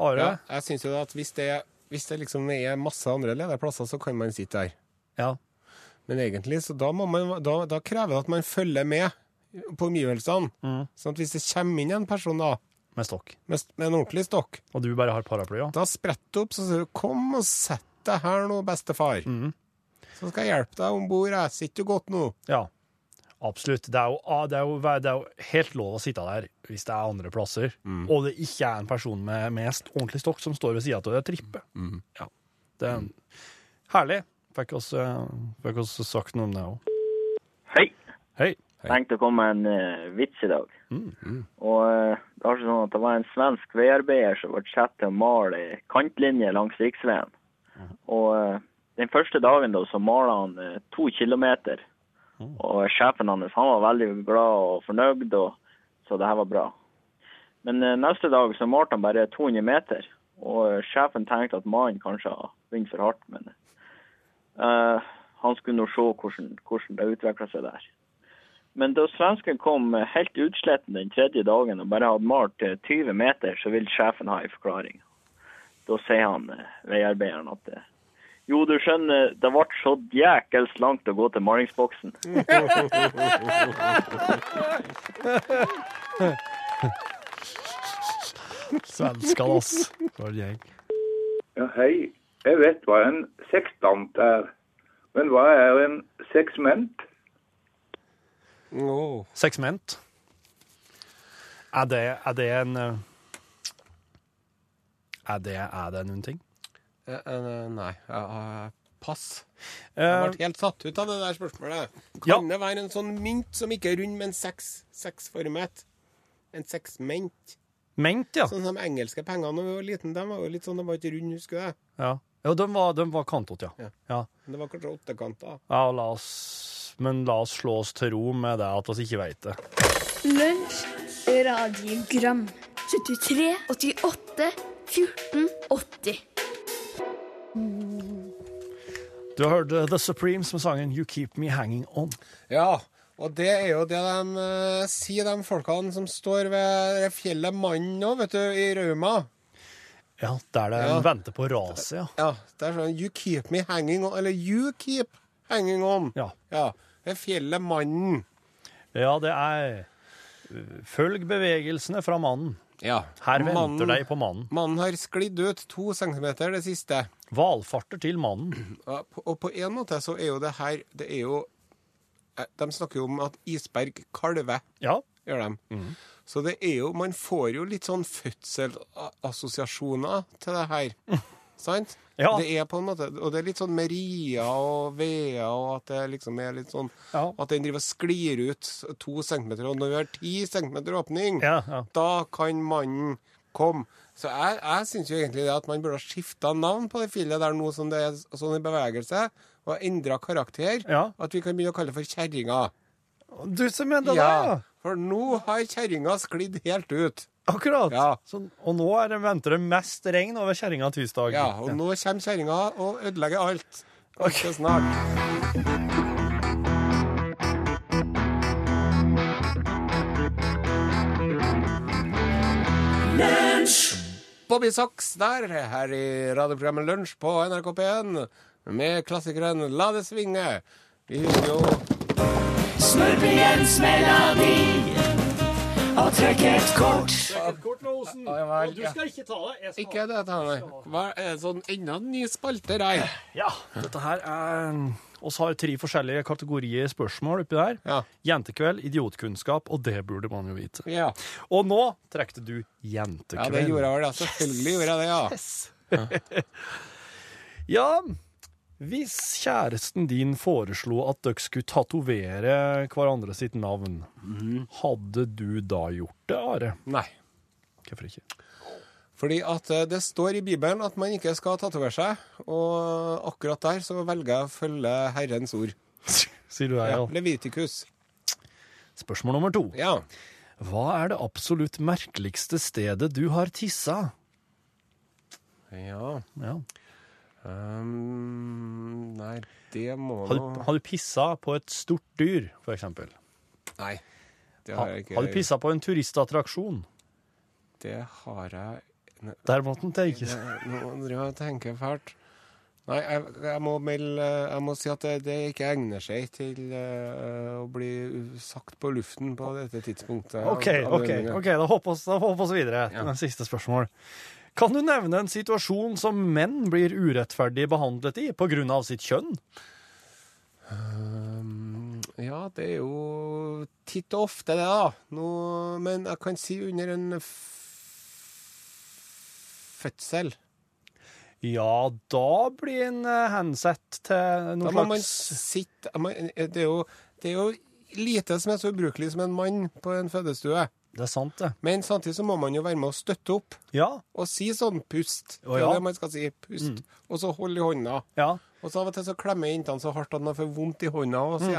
Are?
Ja,
Ja.
jeg syns jo at hvis det, hvis det liksom er masse andre lederplasser, så kan man sitte der. Men egentlig, så da, må man, da,
Mm.
da krever det at man følger med på omgivelsene. Sånn at hvis det kommer inn en person da,
med stokk,
med, s- med en ordentlig stokk.
og du bare har paraply, ja.
Da spretter du opp, så sier du 'kom og sett deg her nå, bestefar'.
Mm.
Så skal jeg hjelpe deg om bord, jeg sitter jo godt nå.
Ja, absolutt. Det er, jo, ah, det, er jo, det er jo helt lov å sitte der hvis det er andre plasser, og det ikke er en person med, med st- ordentlig stokk som står ved sida av deg og tripper. Mm, Ja. Det er herlig. Fikk oss, eh, fikk oss sagt noe om det òg.
Hei.
Hei.
Tenkte å komme med en eh, vits i dag. Og eh, det var sånn at det var en svensk veiarbeider som ble satt til å male ei kantlinje langs riksveien. Og eh, den første dagen da, så malte han eh, to kilometer. Og eh, sjefen hans han var veldig glad og fornøyd, og, så det her var bra. Men eh, neste dag så malte han bare 200 meter. Og eh, sjefen tenkte at mannen kanskje har begynt for hardt, men eh, han skulle nå se hvordan, hvordan det utvikla seg der. Men da svensken kom eh, helt utsletten den tredje dagen og bare hadde malt eh, 20 meter, så vil sjefen ha en forklaring. Da sier han eh, veiarbeideren at eh, jo, du skjønner, det ble så jækels langt å gå til malingsboksen.
Svenskene, ass. Var det jeg.
Ja, hei. Jeg vet hva en sekstant er. Men hva er en seksment?
Åh.
Seksment. Er det, er det en eh, er det, er det noen ting?
Eh, eh, Nei. eh, eh, Pass.
Eh,
Jeg ble helt satt ut av det der spørsmålet. Kan
Ja.
det være en sånn mynt som ikke er rund, men seks, seksformet? En seksment?
ment, ja.
Sånn som de engelske pengene da vi var liten, de var jo litt sånn, de var ikke runde, husker du det?
ja. Jo, de var, de var kantot, ja.
Ja.
ja.
Men det var kanskje åttekanta.
Ja, la oss, men la oss slå oss til ro med det at vi ikke veit det.
Lunsj, radiogram 73, 88, 14, 80.
Du har hørt eh, The Supremes med sangen You Keep Me Hanging On.
Ja, og det er jo det de eh, sier, de folkene som står ved det fjellet Mannen nå, vet du, i Rauma.
Ja, Der de
Ja.
venter på raset, ja.
Ja, det er sånn You keep me hanging on, eller You keep hanging on.
Ja.
det er fjellet Mannen.
Ja, det er eh, Følg bevegelsene fra mannen.
Ja.
Her
mannen,
venter de på mannen.
Mannen har sklidd ut to centimeter det siste.
Valfarter til mannen.
Ja, på- Og på en måte så er jo det her Det er jo eh, De snakker jo om at isberg kalver,
Ja.
gjør de.
Mhm.
Så det er jo Man får jo litt sånn fødselassosiasjoner til det
[laughs]
her. Sant?
Ja.
Det er på en måte Og det er litt sånn med rier og veder, og at det liksom er litt sånn
Ja.
At den driver og sklir ut to centimeter, og når vi har ti centimeter åpning,
Ja, ja.
da kan mannen komme. Så jeg, jeg syns jo egentlig det at man burde ha skifta navn på det fjellet der nå som det er sånn i bevegelse, og endra karakter.
Ja.
At vi kan begynne å kalle det for kjerringa.
Du som mener
For nå har kjerringa sklidd helt ut.
Akkurat.
Ja.
Sånn, og nå er det, venter det mest regn over kjerringa tirsdag.
Ja, og nå kommer kjerringa og ødelegger alt. Ganske snart. Bobby Socks der, her i radioprogrammet Lunsj på NRK P1, med klassikeren La det svinge. Vi husker jo
Scorpions melodi Og trekk et kort
vel,
Du skal ikke ta det. Jeg skal
Ikke det, Tane. Hva er det sånn enda en ny spalte der?
Ja, dette her er oss har tre forskjellige kategorier spørsmål oppi der.
Ja.
Jentekveld, idiotkunnskap, og det burde man jo vite.
Ja.
Og nå trekte du
ja,
jentekveld.
det gjorde jeg vel. ja. Selvfølgelig gjorde jeg det, ja.
[laughs] Ja, hvis kjæresten din foreslo at dere skulle tatovere hverandre sitt navn,
Mhm.
hadde du da gjort det, Are?
Nei.
Hvorfor ikke?
Fordi at eh, det står i Bibelen at man ikke skal tatovere seg, og akkurat der så velger jeg å følge Herrens ord.
Sier du det,
Ja,
ja.
Levitikus.
Spørsmål nummer to.
Ja.
Hva er det absolutt merkeligste stedet du har tissa?
ja.
Ja.
Um, nei, det må
Har
nå
du, har du pissa på et stort dyr, for eksempel?
Nei. Det
Ha,
har jeg ikke.
har du pissa på en turistattraksjon?
Det har jeg
Der måtte han tenke seg.
Nå driver jeg og tenker fælt. Nei, jeg, jeg må melde Jeg må si at det, det ikke egner seg til eh, å bli sagt på luften på dette tidspunktet.
[laughs] OK,
av- av
ok,
denne.
ok, da hopper oss, da hopper oss videre til den siste spørsmål. Kan du nevne en situasjon som menn blir urettferdig behandlet i på grunn av sitt kjønn?
Um, ja, det er jo titt og ofte, det, da. Nå, men jeg kan si under en f fødsel.
Ja, da blir en eh, hensett til
Da
noe
må man
slags
sitte man- det er, jo, det er jo lite som er så ubrukelig som en mann på en fødestue.
Det er sant, det.
Men samtidig så må man jo være med å støtte opp
Ja.
og si sånn pust.
Å,
Det
ja. Mm.
er det man skal si. Pust. Og så hold i hånda.
ja.
Og så av og til så klemmer jentene så hardt at de får vondt i hånda, og
Mm.
så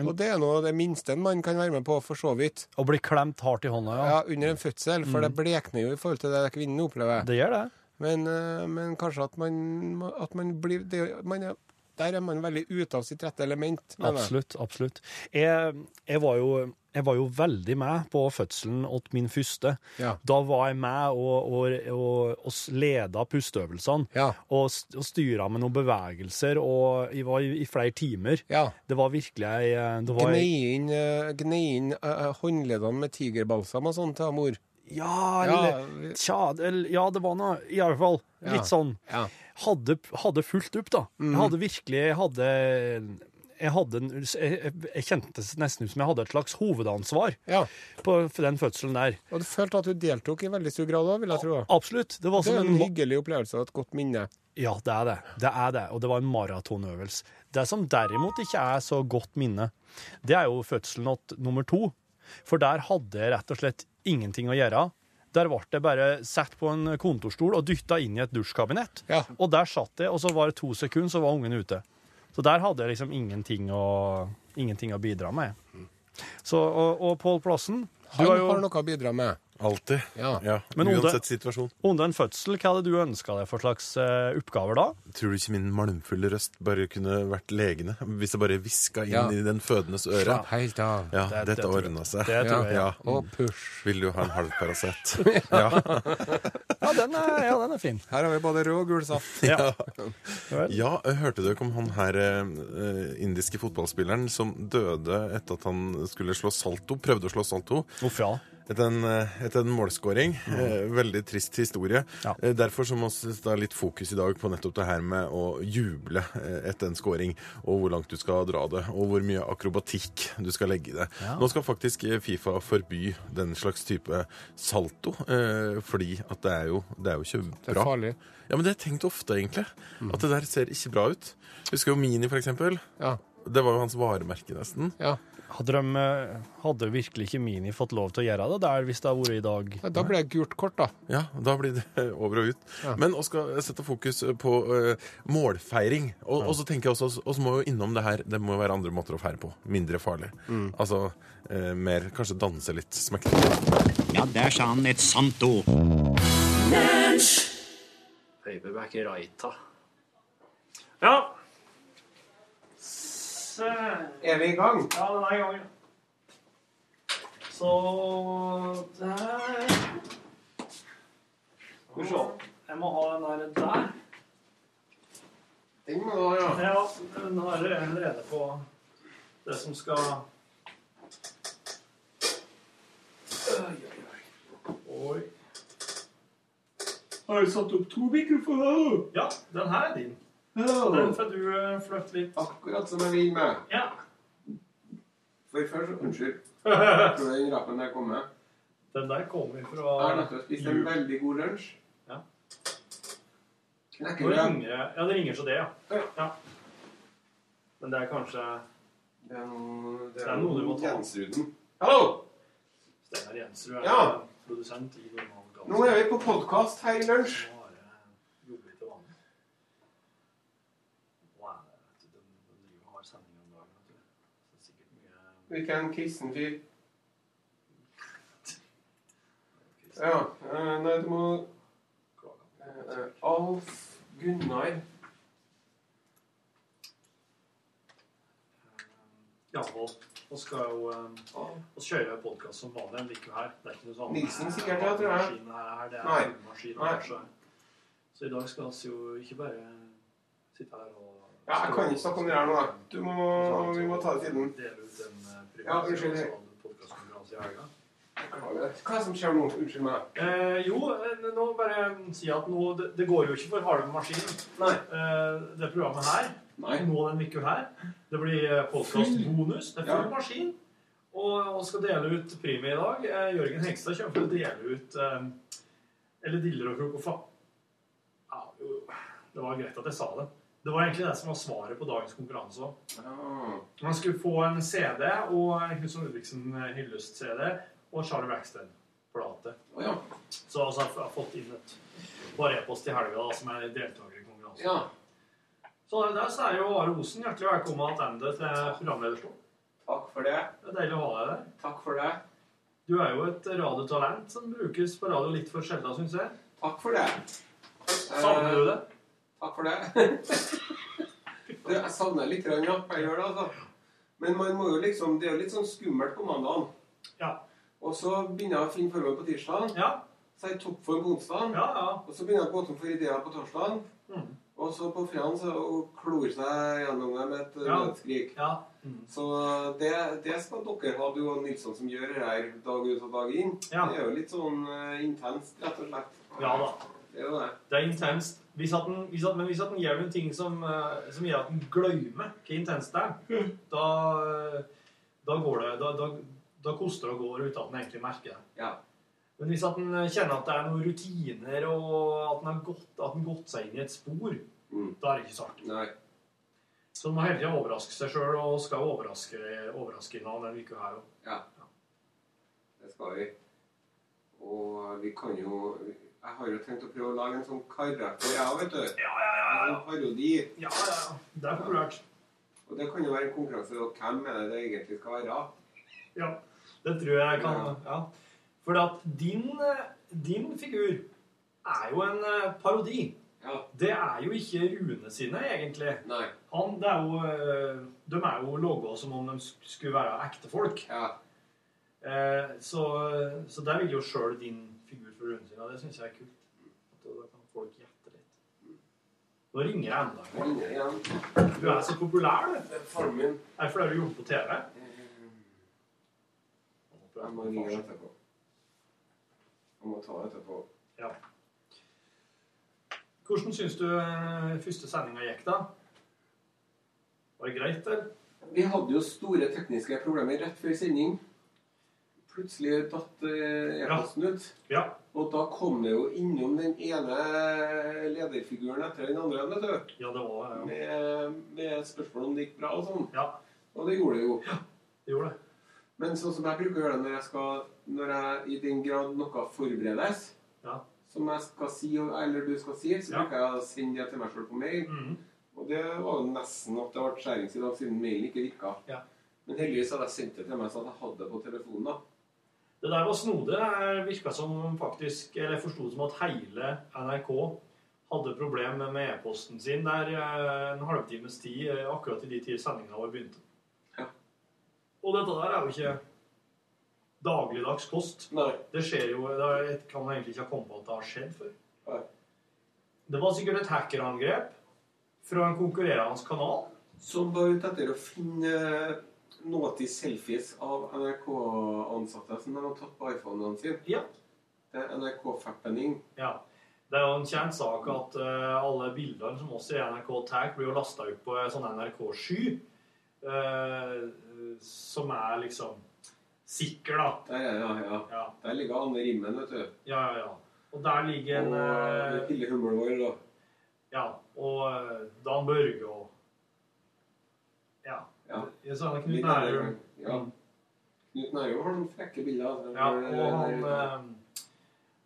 hjem. Og det er noe av det minste en mann kan være med på, for så vidt.
Og blir klemt hardt i hånda, ja.
Ja, under en fødsel, for det blekner jo i forhold til det kvinnen opplever.
Mm. Det gjør det.
Men, eh, men kanskje at man, at man blir det, man er, Der er man veldig ute av sitt rette element. mener jeg.
Absolutt. absolutt. Jeg, jeg, var jo, jeg var jo veldig med på fødselen åt min første.
Ja.
Da var jeg med og, og, og, og leda pusteøvelsene.
Ja.
Og, st- og styra med noen bevegelser og jeg var i, i flere timer.
Ja.
Det var virkelig ei eh, det var ei-
Gnei inn, eh, gnei inn eh, eh, håndleddene med tigerbalsam og sånn til mor.
Ja, eller
Ja.
Tja, det- eller- ja, det var noe I alle fall litt
Ja. Mm.
sånn.
Ja.
Hadde, hadde fulgt opp, da. Jeg hadde virkelig Jeg hadde jeg, hadde, en- jeg, jeg- jeg kjente det nesten ut som jeg hadde et slags hovedansvar
Ja.
på den fødselen der.
Og du følte at du deltok i veldig stor grad òg, vil jeg tro.
Absolutt. Det var
Det
som
er en
en
hyggelig opplevelse og et godt minne.
Ja, det er det. Det er det. Og det var en maratonøvelse. Det som derimot ikke er så godt minne, det er jo fødselen åt nummer to. For der hadde jeg rett og slett ingenting å gjøre. Der ble jeg bare satt på en kontorstol og dytta inn i et dusjkabinett.
Ja.
Og der satt jeg, og så var det to sekunder, så var ungen ute. Så der hadde jeg liksom ingenting å, ingenting å bidra med. Så, og, og Pål Plassen, du
Han
har jo
har noe å bidra med.
Alltid.
Ja.
Men Oda-
Uansett situasjon.
under en fødsel, hva hadde du ønska deg for slags eh, oppgaver da?
Tror du ikke min malmfulle røst bare kunne vært legene? Hvis jeg bare hviska inn
Ja.
i den fødendes øre?
Helt av.
Ja,
Det- det
dette
tror jeg.
ordna seg.
Det tror jeg, ja.
Og push.
Vil du ha en halv Paracet? ja.
Ja, den er, ja, den er fin.
Her har vi både rød og gul saft.
Ja.
ja, hørte du ikke om han her eh, indiske fotballspilleren som døde etter at han skulle slå salto? Prøvde å slå salto.
Uff, ja.
Etter en, eh, etter en målskåring.
Mm.
Eh, Veldig trist historie.
Ja.
Eh, Derfor så må vi ta litt fokus i dag på nettopp det her med å juble eh, etter en skåring, og hvor langt du skal dra det, og hvor mye akrobatikk du skal legge i det. Nå skal faktisk eh, Fifa forby den slags type salto, eh, fordi at det er jo, det er jo ikke bra.
Det er farlig. Mm.
Ja, men det har jeg tenkt ofte, egentlig. At det der ser ikke bra ut. Husker jo Mini, for eksempel.
Ja.
Det var jo hans varemerke, nesten.
ja.
Hadde, de, eh, hadde virkelig ikke Mini fått lov til å gjøre det der hvis det hadde vært i dag?
Da ble det gult kort, da.
Ja, da blir det [laughs] over og ut. Men vi skal sette fokus på eh, målfeiring. Og, og så tenker jeg også, og så må jo innom det her, det må jo være andre måter å feire på. Mindre farlig. Altså eh, mer kanskje danse litt, smekke litt.
Ja, der sa han et sant ord.
Paperback Raita. Ja. Så,
Er vi i gang?
ja, den er i gang. Så der Skal vi se. Jeg må ha den der der.
Den må du ha,
Ja, den har allerede på det som skal Oi, oi, oi. Har du satt opp to mikrofoner? Ja, den her er din. Den får du eh, flytte litt.
Akkurat som jeg vil med.
Ja.
For først, Unnskyld. Tror du den rappen der kommer?
Den der kommer
Jeg har
fra
nettopp spist en veldig god lunsj.
Ja. Nå
Knekker du?
ringer det. Ja, det ringer så det, ja. ja. Men det er kanskje
Det er noe,
Det er noe du må ta.
Jensruden. Hallo!
Steinar Jensrud er
Ja.
produsent i Normal
Nå er vi på podkast her i lunsj. Hvilken kristen fyr? Ja. eh, Nei, du må eh, Alf Gunnar
Ja, og vi skal jo eh, Vi kjører jo podkast som vanlig en uke her. Det er ikke noe sånn
Nilsen sikkert, ja, tror jeg.
Maskinen her, er- det er
Nei.
hovedmaskinen
Nei.
her, så. så i dag skal vi jo ikke bare
sitte her og
Ja, jeg kan ikke snakke om det her nå. jeg. Du må, vi må ta det siden.
dele ut en eh, pris.
Ja, unnskyld.
Så hadde du podcastkonkurranse i helga.
Hva er det som skjer nå? Unnskyld meg.
Eh, jo, eh, nå bare si at nå, det, det går jo ikke for harde maskinen. Eh, det programmet her, nå den uka her, det blir podkastbonus. Det er full maskin. Og vi skal dele ut premie i dag. Eh, Jørgen Hengstad kommer til å dele ut eh, Eller diller og krok og fa... Ja, jo, det var greit at jeg sa det. Det var egentlig det som var svaret på dagens konkurranse òg. Man skulle få en CD og en Knutson Ludvigsen hyllest-CD og Charlie Braxton-plate. Så altså, jeg har fått inn et par e-post i helga da, som er deltaker i konkurransen.
Ja.
Så der så er jo Are Osen hjertelig velkommen tilbake til programlederstolen.
Takk for det.
Det er deilig å ha deg der.
Takk for det.
Du er jo et radiotalent som brukes på radio litt for sjelden, syns jeg.
Takk for det.
Savner du det?
Takk for det. [laughs] Du, jeg savner litt, grann, ja. Jeg gjør det, altså. Men man må jo liksom, det er jo litt sånn skummelt på mandagen.
Eh, Ja.
Og så begynner jeg å finne formen på tirsdagen.
Ja.
Så er jeg i toppform på onsdagen.
Ja, ja.
Og så begynner jeg å gå tom for ideer på torsdagen.
Mm.
Og så på fredagen så og klor seg gjennom det med et
Ja. Mm.
nødskrik. Så det, det skal dere ha, du og Nilsson, som gjør det her dag ut og dag inn.
Ja.
Det er jo litt sånn eh, intenst, rett og slett.
Ja da.
Det er jo det.
Det er intenst. Hvis at den, hvis at, men hvis at den gjør noen ting som, eh, som gjør at den glemmer hvor intenst det er, da, eh, da går det Da, da, da koster det og går uten at den egentlig merker det. Men hvis at den eh, kjenner at det er noen rutiner, og at den har gått, at den gått seg inn i et spor, da er det ikke så artig. Så den må hele tiden overraske seg sjøl, og skal overraske, overraske innan denne uka her òg.
Ja. Det skal vi. Og vi kan jo Jeg har jo tenkt å prøve å lage en sånn karakter, jeg òg, vet du.
Ja, ja, ja,
En parodi.
Ja, ja, ja. Det er populært.
Og det kan jo være en konkurranse. Og hvem er det det egentlig skal være?
Ja, det tror jeg kan ja. For at din, eh, din figur er jo en eh, parodi. Det er jo ikke Rune sine, egentlig. Han, det er jo, eh, de er jo laga som om de sk- skulle være ekte folk. Eh, så, så der vil jo sjøl din figur fra Rune sin, og det syns jeg er kult. At da kan folk gjette litt. Nå ringer jeg enda en gang. Du er så populær, du. Det er
faren min.
Er det fordi du gjorde det på TV?
Jeg må ringe etterpå. Jeg må ta etterpå.
Ja. Hvordan syns du eh, første sendinga gikk, da? Var det greit, eller?
Vi hadde jo store tekniske problemer rett før sending. Plutselig datt eh, e-posten ut. Og da kom det jo innom den ene lederfiguren etter den andre. vet du.
Ja, det var, ja.
Med, med spørsmål om det gikk bra og sånn.
Ja.
Og det gjorde det jo.
det gjorde det.
Men sånn som jeg bruker å gjøre det når jeg skal når jeg, I den grad noe forberedes,
Ja.
som jeg skal si, eller du skal si, så bruker jeg å sende det til meg selv på mail. Og det var jo nesten at det ble skjærings i dag, siden mailen ikke virka.
Ja.
Men heldigvis hadde jeg sendt det til meg, så jeg hadde det på telefonen. da.
Det der var snodig. Det virka eh, som om faktisk Eller jeg forsto det som at hele NRK hadde problem med e-posten sin der eh, en halvtimes tid eh, akkurat i de tider sendinga vår begynte. Og dette der er jo ikke dagligdags kost. Det skjer jo det er- Jeg kan egentlig ikke ha kommet på at det har skjedd før. Det var sikkert et hackerangrep fra en konkurrerende kanal.
Som var ute etter å finne naughty selfies av NRK-ansatte som de har tatt på iPhonen sin. Det er NRK-fappening.
Ja. Det er jo en kjent sak at eh, alle bildene som oss i NRK tar, blir jo lasta ut på en sånn NRK-sky. eh, som er liksom sikker, da.
Der, er det, ja, ja. Der ligger Anne Rimmen, vet du.
Ja, ja, ja. Og der ligger en
Og
eh,
Pille Hummelvold, da.
Ja. Og eh, Dan Børge og Ja. Jeg sa det, Knut
Litt nærmere.
Nærum.
Ja. Knut Nærum har noen frekke bilder. altså.
Ja, og han, eh,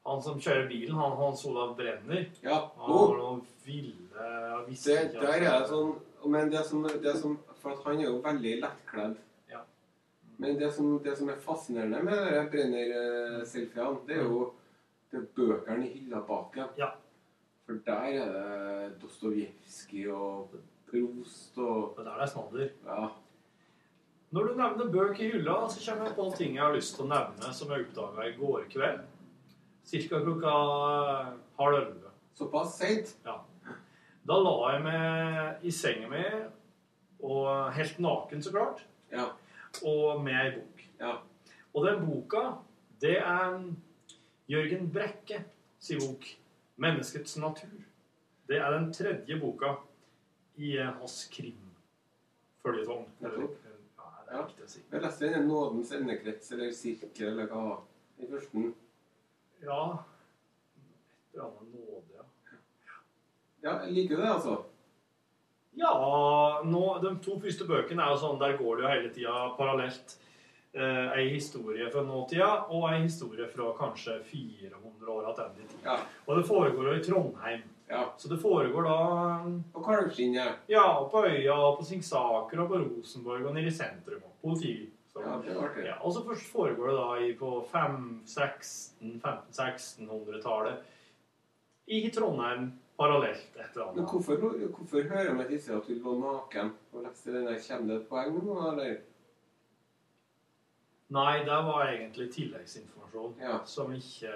han som kjører bilen, han Hans Olav Brenner
Ja.
Han har noen ville jeg visste
Oh! det,
ikke at-
der er det sånn Men det som, det som For at han er jo veldig lettkledd.
Ja.
Men det som, det som er fascinerende med de her Brenner-selfiene, det er jo det er bøkene i hylla bak igjen. For der er det Dostojevskij og Prost og
Der er det snadder.
Ja.
Når du nevner bøk i hylla, så kommer jeg på ting jeg har lyst til å nevne som jeg oppdaga i går kveld. Cirka klokka halv elleve.
Såpass seint?
Ja. Da la jeg meg i senga mi, og helt naken, så klart, og med ei bok. Og den boka, det er Jørgen Brekke sin bok 'Menneskets natur'. Det er den tredje boka i eh, hans krimføljetong. Eller-
Nettopp.
Ja, det er riktig å si.
Jeg leste denne nådens endekrets eller sirkel eller hva i førsten.
Ja Et eller annet nåde, ja.
Ja, jeg liker det, altså.
Ja nå, De to første bøkene er jo sånn Der går det jo hele tida parallelt. Eh, ei historie fra nåtida og ei historie fra kanskje 400 år tilbake i tid. Og det foregår jo i Trondheim. Så det foregår da
På Kalvskinnet.
Ja, og på Øya, og på Singsaker, og på Rosenborg, og nede i sentrum. Og politi. Så-
Ja, det er artig.
Ja, og så først foregår det da i, på 1500-1600-tallet i Trondheim parallelt et eller annet.
Men hvorfor, hvorfor hører man disse at du lå naken og leste den der? Kommer det et poeng nå, eller?
Nei, det var egentlig tilleggsinformasjon som ikke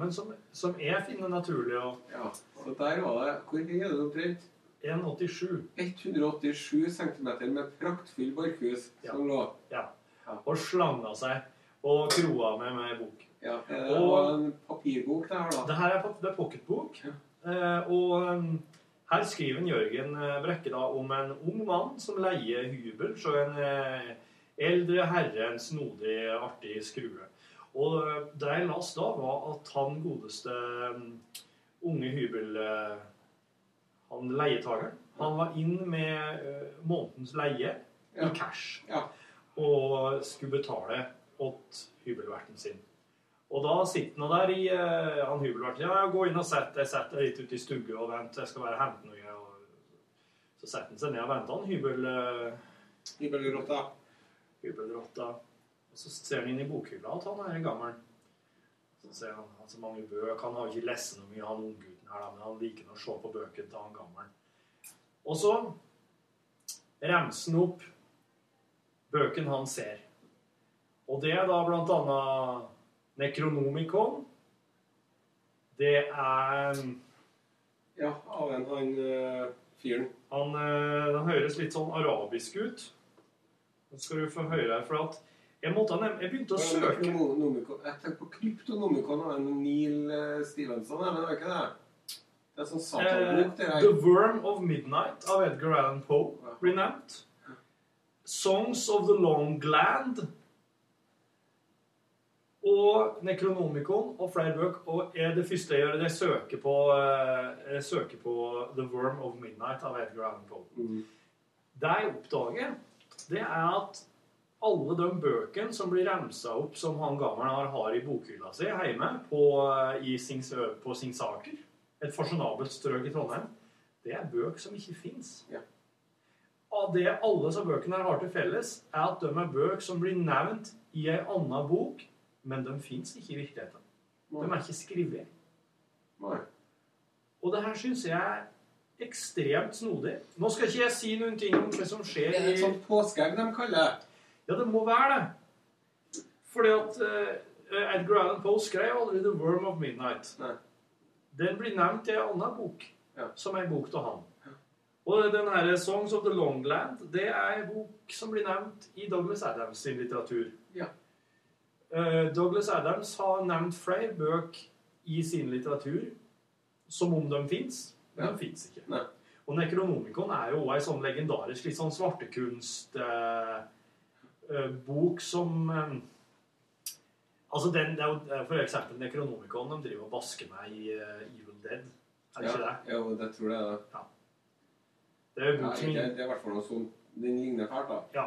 Men som, som jeg finner naturlig å
Ja. Så der var det. Hvor høy er du omtrent?
1,87.
187 cm med praktfull barkhus som lå.
Ja. Og slanga seg og kroa med med bok.
Ja, eh, det var en papirbok det her, da.
Det her er, pap- det er pocketbok. Eh, og em, her skriver en Jørgen eh, Brekke da om en ung mann som leier hybel så en eh, eldre herre en snodig, artig skrue. Og eh, det jeg las da, var at han godeste em, unge hybel... Eh, han leietageren. Han var inn med eh, månedens leie i cash. Og skulle betale åt hybelverten sin. Og da sitter han der i eh, han hybelverten. Ja, gå inn og sett deg. Sett deg litt ute i stugge og vent. Jeg skal være og hente noe. Og så setter han seg ned og venter han hybel... Eh,
hybelrotta.
Hybelrotta. Og så ser han inn i bokhylla at han er gammel. Så ser han han har så mange bøk. Han har jo ikke lest noe mye, han unggutten her, da, men han liker nå å se på bøkene til han gammel. Og så remser han opp bøkene han ser. Og det er da blant annet Necronomicon. Det er
Ja, av en han eh, fyren.
Han, eh, den høres litt sånn arabisk ut. Nå skal du få høre her, for at jeg, måtte, nem- jeg begynte å
Ja,
søke
Necronomicon. Jeg tenker på Kryptonomicon av en Neil eh, Stevenson, men det var ikke det. Det er sånn satanbok, det
Eh,
her.
The Worm of Midnight av Edgar Allan Poe blir nevnt. Songs of the Long Gland. Og Necronomicon og flere bøk. Og er det første jeg gjør, det er søke på, eh, jeg søker på The Worm of Midnight av Edgar Allan Poe. Det jeg oppdager, det er at alle de bøkene som blir remsa opp som han gammelen har, har i bokhylla si hjemme på, eh, i Singsø, på Singsaker, et fasjonabelt strøk i Trondheim, det er bøk som ikke fins. Av det alle som bøkene her har til felles, er at de er bøk som blir nevnt i ei anna bok, men de fins ikke i virkeligheten. De er ikke skrevet. Og det her syns jeg er ekstremt snodig. Nå skal ikke jeg si noen ting om hva som skjer
Det er et sånt påskeegg de kaller det.
Ja, det må være det. Fordi at eh, Edgar Allan Poe skrev aldri 'The Worm of Midnight'. Den blir nevnt i en annen bok, som er en bok til han. Og den her 'Songs of the Longland' det er en bok som blir nevnt i Douglas Adams sin litteratur. Eh, Douglas Adams har nevnt flere bøk i sin litteratur som om de fins, men de fins ikke. Og Necronomicon er jo ei sånn legendarisk litt sånn svartekunstbok som eh, Altså, den, det er jo det er for eksempel Necronomicon de driver og basker meg i eh, Evil Dead. Er det ikke
Ja,
det?
Jo, det tror jeg det.
Ja. Det er jo bok som
det, det er i hvert fall noe sånt. Den ligner fælt, da.
Ja.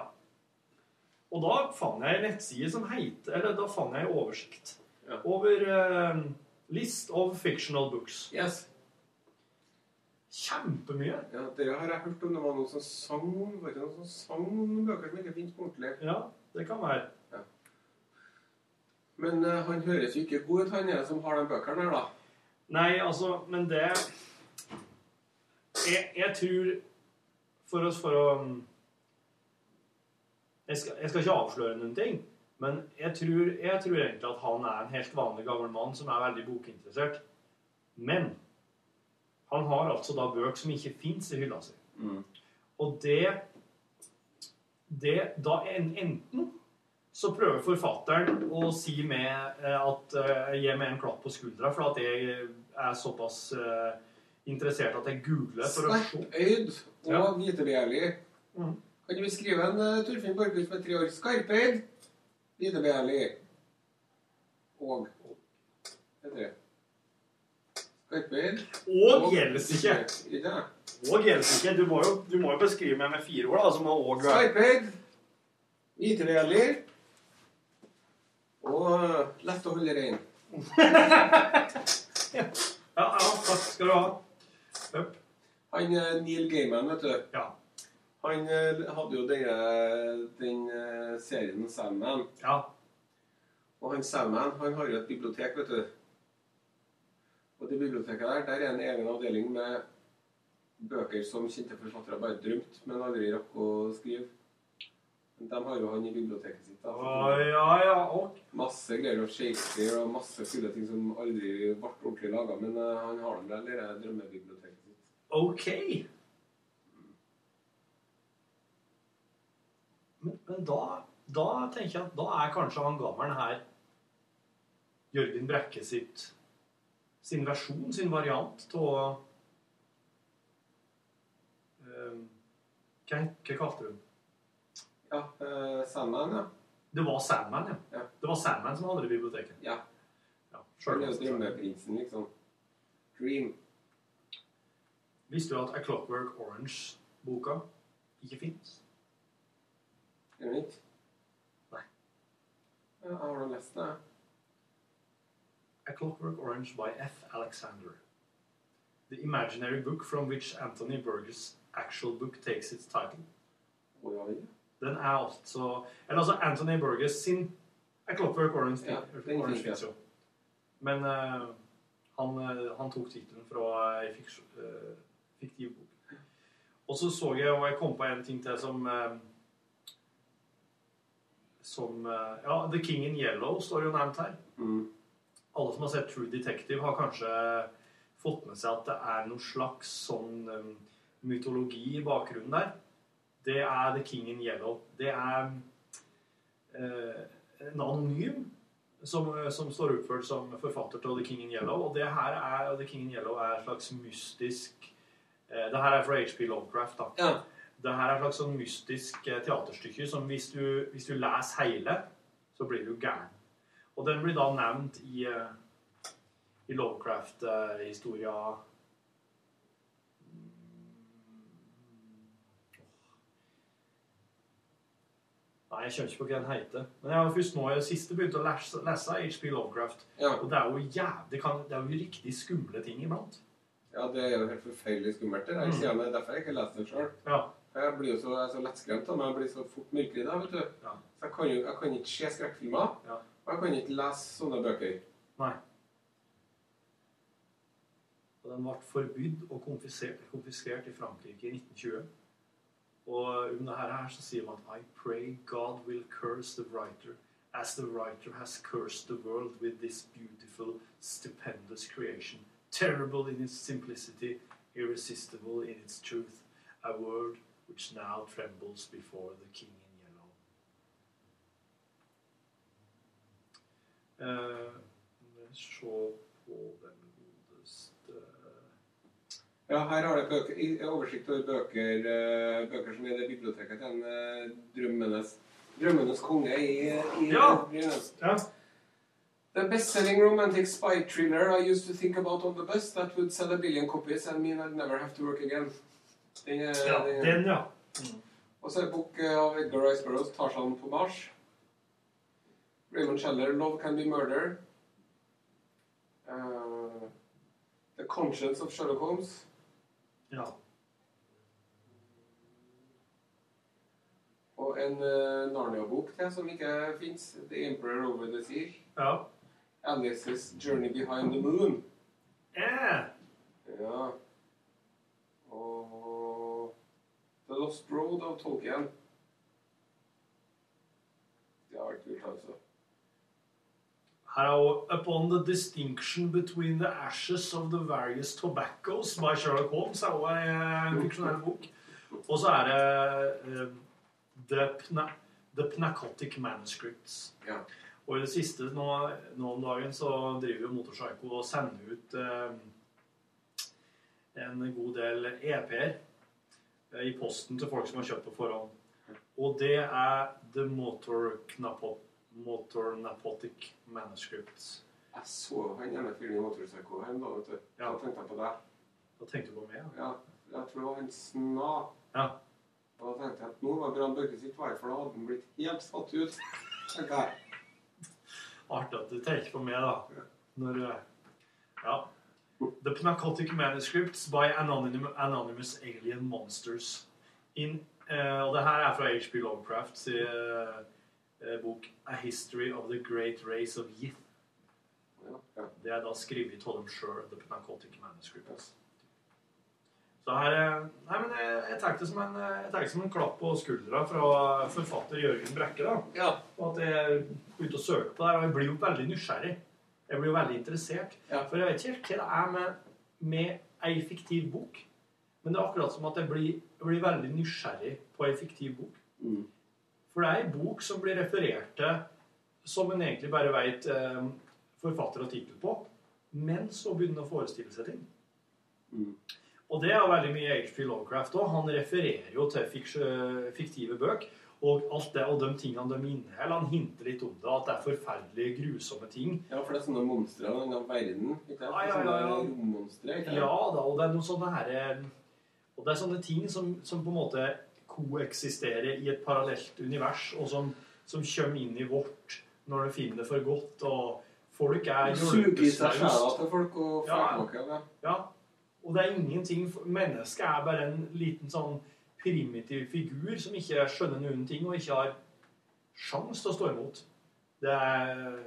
Og da fant jeg en nettside som heter Eller da fant jeg en oversikt over eh, List of fictional books. Kjempemye.
Ja, det har jeg hørt om. Det var noen som sang var det noen som sang om noen bøker som ikke finnes på ordentlig.
Ja, det kan være.
Men eh, han høres jo ikke god ut, han er som har de bøkene her, da.
Nei, altså, men det Jeg, jeg tror For å, for å mm, jeg skal, jeg skal ikke avsløre noen ting, men jeg tror, jeg tror egentlig at han er en helt vanlig gammel mann som er veldig bokinteressert. Men Han har altså da bøker som ikke fins i hylla si. Og det, det da en, Enten så prøver forfatteren å si med eh, at eh, Gi meg en klapp på skuldra for at jeg er såpass eh, interessert at jeg googler for å se.
Skarpøyd og vitebegjærlig. Kan du beskrive en eh, Torfinn Borchhus med tre år? Skarpøyd, vitebegjærlig og Heter det. Skarpøyd
Og gjelder ikke.
Ikke det?
Og gjelder ikke. Du må jo, du må jo beskrive meg med fire ord, da. Som er og
Skarpøyd, vitebegjærlig og eh, lett å holde rein.
Ja, ja, takk skal du ha.
Han eh, Neil Gaiman, vet du. Han eh, hadde jo denne, den eh, serien Sandman.
Ja.
Og han Sandman han har jo et bibliotek, vet du. Og det biblioteket der, der er en egen avdeling med bøker som kjente forfattere bare drømte, men aldri rakk å skrive. Men De har jo han i biblioteket sitt. da.
Å, ja, ja, og?
Masse greier av Shakespeare og masse kule ting som aldri ble ordentlig laga, men eh, han har dem der, det der drømmebiblioteket sitt.
Ok. Men, men da, da tenker jeg at da er kanskje han gammelen her Jørgen Brekke sitt sin versjon, sin variant av eh, Hva hva kalte du den?
Ja, eh, Sandman, ja.
Det var Sandman, ja. Det var Sandman som hadde det i biblioteket.
Ja.
Sjøl
Han er jo drømmeprinsen, liksom. Dream.
Visste du at A Clockwork Orange-boka ikke fins?
Er det nytt? Nei. Ja, har du lest den? jeg?
A Clockwork Orange by F. Alexander. The imaginary book from which Anthony Burgess' actual book takes its title. Den er altså Eller altså Anthony Burgess sin A Clockwork Orange,
Ja, den
Orange
fikk jeg.
fins jo. Men eh, han, eh, han tok tittelen fra ei fiks- eh, fiktiv bok. Og så så jeg, og jeg kom på en ting til som eh, Som eh, Ja, The King in Yellow står jo nevnt her
Mm.
alle som har sett True Detective, har kanskje fått med seg at det er noe slags sånn um, mytologi i bakgrunnen der. Det er The King in Yellow. Det er eh, en anonym som, eh, som står oppført som forfatter til The King in Yellow. Og det her er, og The King in Yellow er et slags mystisk eh, Det her er fra HP Lovecraft, da. Det her er et slags sånn mystisk eh, teaterstykke som hvis du, hvis du leser hele, så blir du gæren. Og den blir da nevnt i, eh, i Lovecraft-historia Nei, jeg skjønner ikke på hva den heter. Men jeg har først nå i det siste begynt å lese, lese HP Lovecraft. Og det er jo jævlig kan, Det er jo riktig skumle ting iblant.
Ja, det er jo helt forferdelig skummelt. Det der. Jeg kjenner, derfor har jeg ikke lest den sjøl.
Ja.
Jeg blir jo så, jeg er så lettskremt av meg. Jeg blir så fort mørkredd. jeg, vet du. Så jeg kan jo jeg kan ikke se skrekkfilmer. Og jeg kan ikke lese sånne bøker.
Nei. Og den ble forbudt og konfiskert, konfiskert i Frankrike i 1920. Og om det her her så sier man I pray God will curse the writer as the writer has cursed the world with this beautiful, stupendous creation. Terrible in its simplicity, irresistible in its truth. A word which now trembles before the king in yellow. Eh, må vi se på den godeste
Ja, her har jeg bøker, i- oversikt over bøker, eh, bøker som er i det biblioteket til en eh, drømmenes, drømmenes konge i, i
Ja.
Brynäs.
Ja.
The best-selling romantic spy thriller I used to think about on the bus that would sell a billion copies and mean I'd never have to work again. Den, er-
Ja, den, ja.
Og så er det bok eh, av Edgar Rice Burroughs, 'Tarzan på Mars'. Raymond Scheller, 'Love Can Be Murder'. Eh, 'The Conscience of Sherlock Holmes'.
Ja.
Og en eh, Narnia-bok til som ikke fins. 'The Emperor Over the Sea'.
Ja.
Alice's Journey Behind the Moon. Ja. Og The Lost Road av Tolkien. Det har vært kult, altså.
Her er også 'Upon the distinction between the ashes of the various tobaccos' by Sherlock Holmes. er også en eh, fiksjonell bok. Og så er det eh, The, Pna the Pnacotic Manuscripts. Og i det siste nå, nå om dagen så driver jo Motorpsycho og sender ut eh, en god del EP-er eh, i posten til folk som har kjøpt på forhånd. Og det er The Motor Knapo- Motor Napotic Manuscripts.
Jeg så han ene fyren i Motorpsycho her om dagen, vet du. Da tenkte jeg på deg.
Da tenkte du på meg?
Ja. Jeg tror det var han Sna.
Ja.
Og da tenkte jeg at nå var Brann Børke sitt vær, for da hadde han blitt helt satt ut. tenkte jeg.
Artig at du tenker på meg, da. Når eh, Ja. The Pnacotic Manuscripts by Anonym, Anonymous Alien Monsters. In, eh, og det her er fra H.P. Lovecrafts eh, eh, bok A History of the Great Race of Yith. Det er da skrevet av dem sjøl, The Pnacotic Manuscripts. Så her, eh, nei, men jeg, jeg tar det som en, eh, jeg tar det som en klapp på skuldra fra forfatter Jørgen Brekke. da. Og at jeg er ute og søker på det her. Og jeg blir jo veldig nysgjerrig. Jeg blir jo veldig interessert. For jeg vet ikke helt hva det er med, med ei fiktiv bok. Men det er akkurat som at jeg blir, jeg blir veldig nysgjerrig på ei fiktiv bok. For det er ei bok som blir referert til som en egentlig bare veit eh, forfatter og tittel på. Men så begynner en å forestille seg ting. Og det er jo veldig mye H.P. Lovecraft òg. Han refererer jo til fiks- fiktive bøk. Og alt det, og de tingene de inneholder. Han hinter litt om det. At det er forferdelig grusomme ting.
Ja, for det er sånne monstre av denne verden. Ikke sant?
Ja, ja, ja, ja.
Sånne rommonstre. ikke sant?
Ja da, og det er noen sånne her, eh, Og det er sånne ting som, som på en måte koeksisterer i et parallelt univers, og som, som kommer inn i vårt når du finner det for godt. Og folk er
Det suger i seg
hjelpeløse.
sjela til folk og
Ja.
flertåka, det.
Ja. Og det er ingenting Mennesket er bare en liten sånn primitiv figur som ikke skjønner noen ting, og ikke har sjans til å stå imot. Det er,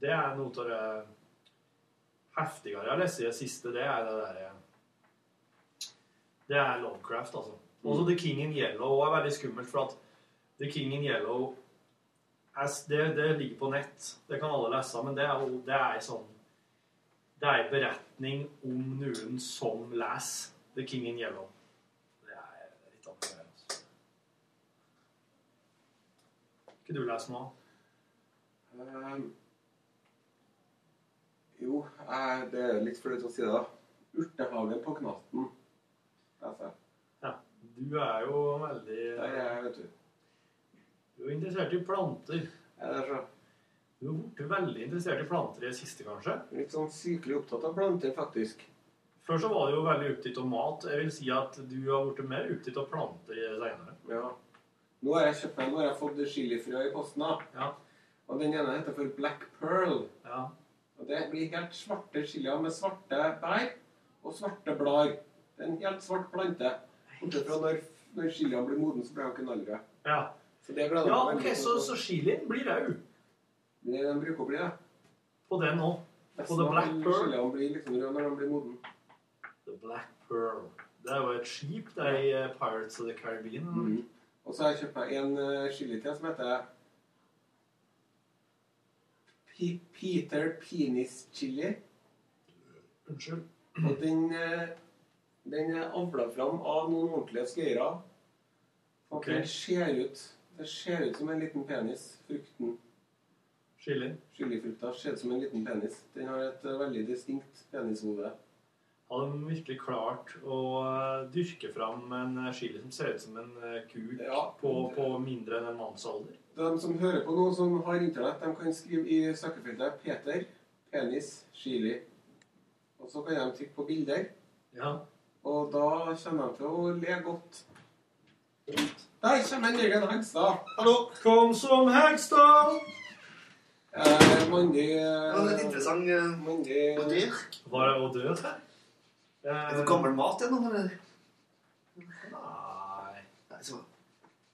det er noe av det heftigere jeg har lest i det siste. Det er det derre Det er Lovecraft, altså. Også The King in Yellow er veldig skummelt, for at The King in Yellow er, s- det, det ligger på nett. Det kan alle lese, men det er, jo- det er sånn det er en beretning om noen som leser The King in Yellow. Det er litt annerledes. Ikke du lese nå?
Ehm, jo, eh, det er litt flaut å si det, da. 'Urtehagen på Knatten'. leser jeg.
Ja. Du er jo veldig
Der er jeg, vet du.
Du er interessert i planter.
Ja, det er så.
Du har blitt veldig interessert i planter i det siste, kanskje?
Litt sånn sykelig opptatt av planter, faktisk.
Før så var du jo veldig opptatt av mat. Jeg vil si at du har blitt mer opptatt av planter i det senere.
Ja. Nå har jeg kjøpt meg, nå har jeg fått chilifrø i posten. da. Og den ene heter for Black Pearl. Og det blir helt svarte chilier med svarte bær og svarte blader. Det er en helt svart plante. Bortsett fra når, når chiliene blir moden, så blir de knallrøde.
Ja.
Så det gleder jeg
Ja,
meg
ok,
veldig
så,
til.
så chilien blir rød
Det er det de bruker å bli, det.
på den òg. På The
Resten av
Black Pearl.
Chiliene blir liksom røde når de blir moden.
The Black Pearl. Det er jo et skip. Det er i eh, Pirates of the Caribbean.
Mhm. Og så har jeg kjøpt meg en eh, chili til som heter P Peter Penis Chili.
Unnskyld.
Og den, eh, den er avla fram av noen ordentlige skøyere. Og
Ok.
den ser ut Det ser ut som en liten penis. Frukten.
Chilien.
Chilifrukta ser ut som en liten penis. Den har et eh, veldig distinkt penishode.
Hadde de virkelig klart å eh, dyrke fram en eh, chili som ser ut som en eh, kuk på, på mindre enn en mannsalder?
De som hører på nå, som har internett, de kan skrive i søkefeltet 'Peter penis chili'. Og så kan de trykke på bilder.
Ja.
Og da kommer de til å le godt. Der kommer en egen Hegstad. Hallo.
Kom som Hegstad.
Eh, mandig eh,
Det var litt interessant. eh,
Mandig
Og dyr.
Var det og død Eh, her?
Er det gammel mat ennå, eller?
Nei.
Nei, så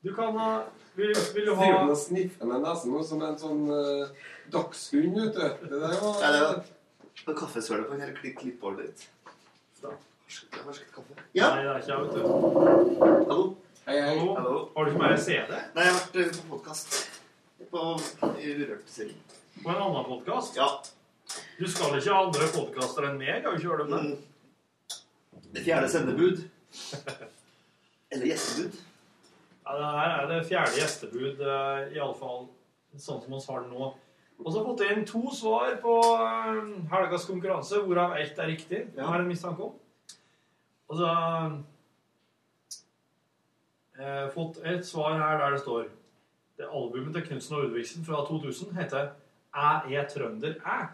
Du kan ha Vil, vil du ha
Driver den og sniffer med nesen nå som en sånn eh, dagshund, vet du. Det der var
Nei, det var, det var kaffesølet på den her klipp klippbordet ditt. Da. Varsket, varsket kaffe. Ja?
Nei, det er ikke jeg, vet
Hallo?
Hei, hei.
Hallo.
Har du ikke mer CD?
Nei, jeg har vært eh, på podkast. På i Urørt-serien.
på en annen podkast. Du skal ikke ha andre podkaster enn meg? Har du ikke hørt om det?
Det fjerde sendebud. [laughs] Eller gjestebud.
Ja, det her er det fjerde gjestebud, eh, i alle fall sånn som vi har det nå. Og så har vi fått inn to svar på eh, helgas konkurranse, hvorav ett er riktig. Det har jeg en mistanke om. Og så eh, fått et svar her der det står Det albumet til Knutsen og Ulriksen fra 2000 heter Æ er trønder æ.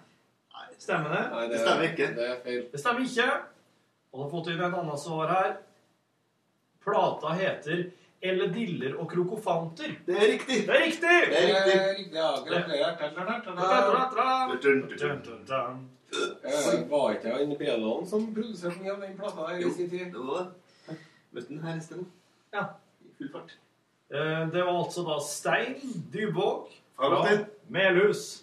Stemmer det?
Nei, det- Det stemmer ikke.
Det er feil. Det stemmer ikke. Og så har vi fått inn et annet svar her. Plata heter Elle diller og krokofanter. Det er riktig! Det er riktig!
Det er riktig.
Eh, Ja, gratulerer. Eh, Var ikke det han Bredalen som produserte mye av den plata der i sin tid?
Eh,
Det var det. Møtte den her i sted.
Ja.
I full fart.
Eh, Det var altså da Stein Dybåk
Martin.
Melhus.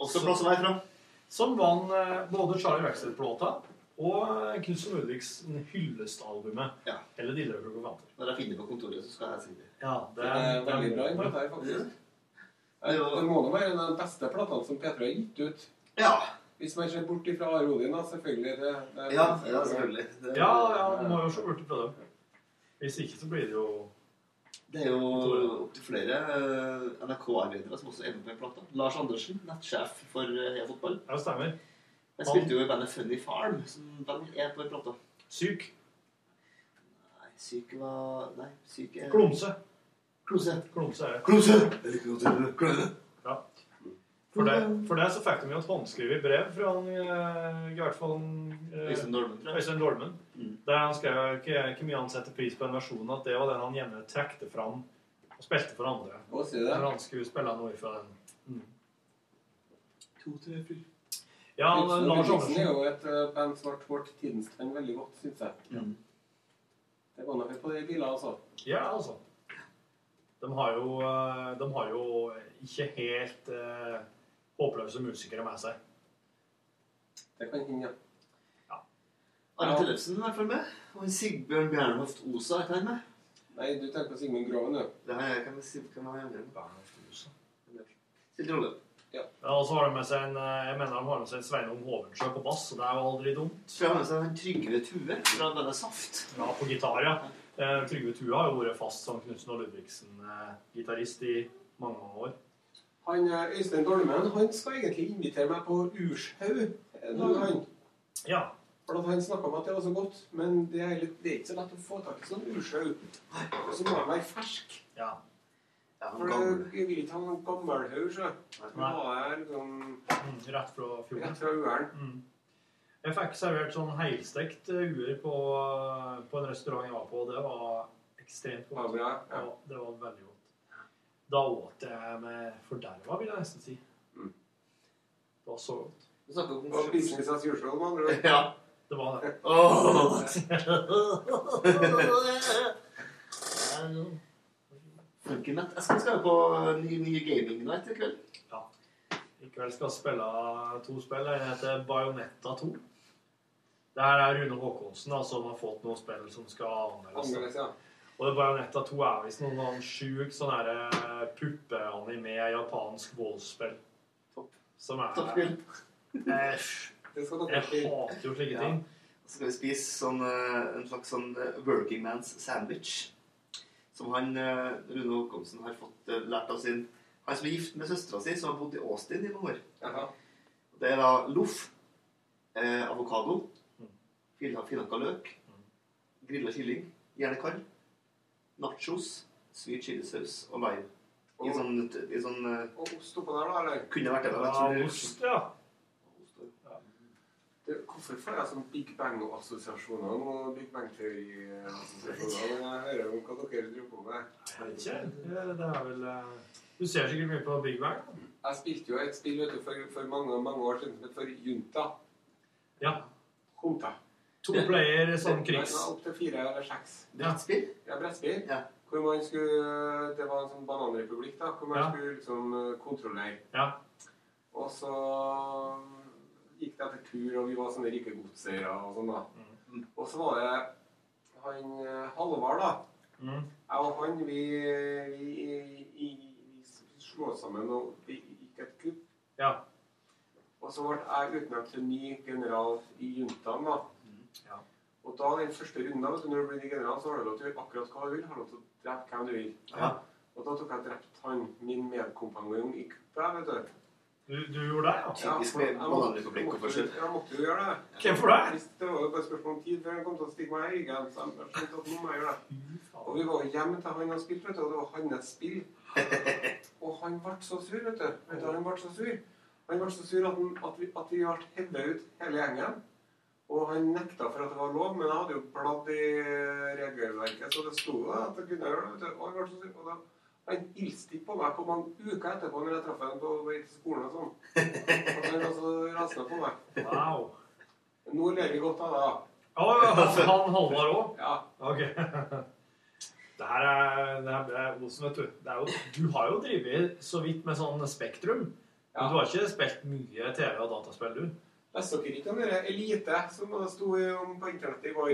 Også plass å være fra.
Som vant eh, både Charlie Rackstedt-plata og eh, Knutsen Ulriksen Hyllest-albumet. Eller Diller og Krokofanter.
Når jeg finner på kontoret, så skal jeg si det.
Ja,
Det
Eh,
er veldig bra,
Den plata her, faktisk. Eh, Det må nå være en av de beste platene som P3 har gitt ut. Hvis man ser bort ifra Are Odin, da. Selvfølgelig. Det, det er-
Ja, ja, selvfølgelig. Det-
Ja, ja, du må jo se bort fra det. Hvis ikke, så blir det jo
Det er jo opptil flere eh, NRK-arbeidere som også er med på den plata. Lars Andersen, nettsjef for eh, Heia Fotball.
Ja, stemmer.
Jeg spilte jo i bandet Funny Farm, som band er på den plata.
Syk?
Nei, syk var Nei, syk er
Klumse.
Klumse.
Klumse er det.
Klumse! Jeg liker godt å høre kløne.
Ja. For det, for det så fikk de jo et håndskrevet brev fra han, eh, i hvert fall eh,
Øystein Dolmen, tror jeg. Mm.
Øystein Dolmen. Der han skrev ikke, ikke mye han setter pris på en versjon at det var den han gjerne trekte fram og spilte for andre.
Å, sier du det?
Når han skulle spille noe fra den.
To, tre, fire.
Ja,
Knutsen og
Lars
Ulriksen er jo
Andersen.
et eh, band som ble vårt tidens trend veldig godt, syns jeg.
Mm.
Det var noe på de bilene, altså.
Ja, altså. De har jo, eh, de har jo ikke helt eh, håpløse musikere med seg.
Det kan hende, ja.
Arne Tellefsen er fra med. Og Sigbjørn Bjernhoft Osa er ikke han med.
Nei, du tenker på Sigmund Groven, du.
Det har jeg. Hvem er Sig- hvem har jeg andre med? Silje Rolle.
Ja.
Ja, og så har de med seg en, eh, jeg mener de har med seg en Sveinung Hovensjø på bass, og det er jo aldri dumt.
Så jeg har med seg en Trygve Tue fra bandet Saft.
Ja, på gitar, ja. Eh, Trygve Tue har jo vært fast som Knutsen og Ludvigsen-gitarist i mange, mange år.
Han, eh, Øystein Dolmen han skal egentlig invitere meg på Urshaug en dag, han.
Ja.
For at han snakka om at det var så godt, men det er, litt, det er ikke så lett å få tak i sånn Urshaug. Og så må han være fersk.
Ja.
For
gammel.
jeg vil ikke ha noen gammelhaug, sjø. Nå har jeg liksom
Rett fra fjorden.
Rett fra uren.
Mm. Jeg fikk servert sånn helstekt eh, uer på, eh, på en restaurant jeg var på, og det var ekstremt godt.
Ja, bra, ja.
det var veldig godt. Da åt jeg med forderva, vil jeg nesten si. Det var så godt.
Du snakker om
Og business as usual, med andre ord.
Ja.
Det var det.
Funkinett. Jeg skal skal jo på ny, ny gaming night i kveld.
I kveld skal jeg spille to spill. Det ene heter Bajonetta 2. Det her er Rune Håkonsen da, som har fått noen spill som skal
Annerledes,
anmeldes.
ja.
Og det Bajonetta 2 er visst noen sånn sjuk sånn derre puppeanime japansk voldsspill. Som er
Toppspill.
Æsj. Jeg hater jo slike ting.
Så skal vi spise sånn, eh, en slags sånn eh, working man's sandwich. Som han, eh, Rune Håkonsen har fått eh, lært av sin Han som er gift med søstera si, som har bodd i Austin i mange år. Det er da loff, eh, avokado,
Mm.
fil- finhakka løk, grilla kylling, gjerne kald, nachos, sweet chilisaus og lime. I sånn, i sånn eh,
Og ost oppå der, da, eller?
Kunne vært det. da, jeg tror
Ja,
det er-
Ah, ost, ja.
Det, hvorfor får jeg sånn Big Bang-assosiasjoner og Big Bang-teori-assosiasjoner når jeg hører om hva dere driver på med?
Jeg vet ikke. Det det er vel eh, Du ser sikkert mye på Big Bang. da.
Jeg spilte jo et spill vet du, for, for mange, mange år siden som het for Junta.
Ja.
Junta.
To player sånn krigs...
Opptil fire eller seks.
Brettspill?
Ja, brettspill. Hvor man skulle Det var en sånn bananrepublikk, da. Hvor man skulle liksom eh, kontrollere. Og så gikk det etter tur, og vi var sånne rike godseiere og sånn, da.
Mm.
Og så var det han eh, Halvard, da.
Mm.
Jeg og han, vi, vi, vi, vi slo oss sammen og vi gikk et kupp.
Ja.
Og så ble jeg utnevnt til ny general i juntaen, da. Og da den første runden, vet du, når du blir ny general, så har du lov til å gjøre akkurat hva du vil. Har lov til å drepe hvem du vil. Og da tok jeg drept han, min medkompanjong i kuppet, vet du.
Du, du gjorde det, ja?
Typisk med bananrepublikkkonferansen. Ja, måtte jo gjøre det.
Hvem for det?
Hvis Det var jo bare et spørsmål om tid før han kom til å stikke meg i ryggen. Så jeg bare skjønte at nå må jeg gjøre det. Og vi var jo hjemme til han og spilte, vet du, og det var hans [laughs] spill. Og han ble så sur, vet du. Vet du, Han ble så sur. Han ble så sur at, han, at vi, at vi ble hevet ut hele gjengen. Og han nekta for at det var lov, men jeg hadde jo bladd i regelverket, så det sto jo at jeg kunne gjøre det. vet du. Og han ble så sur. Og da, han ilste ikke på meg på mange uker etterpå når jeg traff ham på vei til skolen og sånn. Og han altså rasende på meg.
Wow.
Nå ler vi godt av det.
Å, ja, han- han Halvard òg?
Ja.
Ok. [laughs] Det her er, det her er Olsen, vet du. Det er jo, du har jo drevet så vidt med sånn Spektrum. Men du har ikke spilt mye TV og dataspill, du?
Jeg så ikke om dere Elite, som det sto i- om på internettet i går.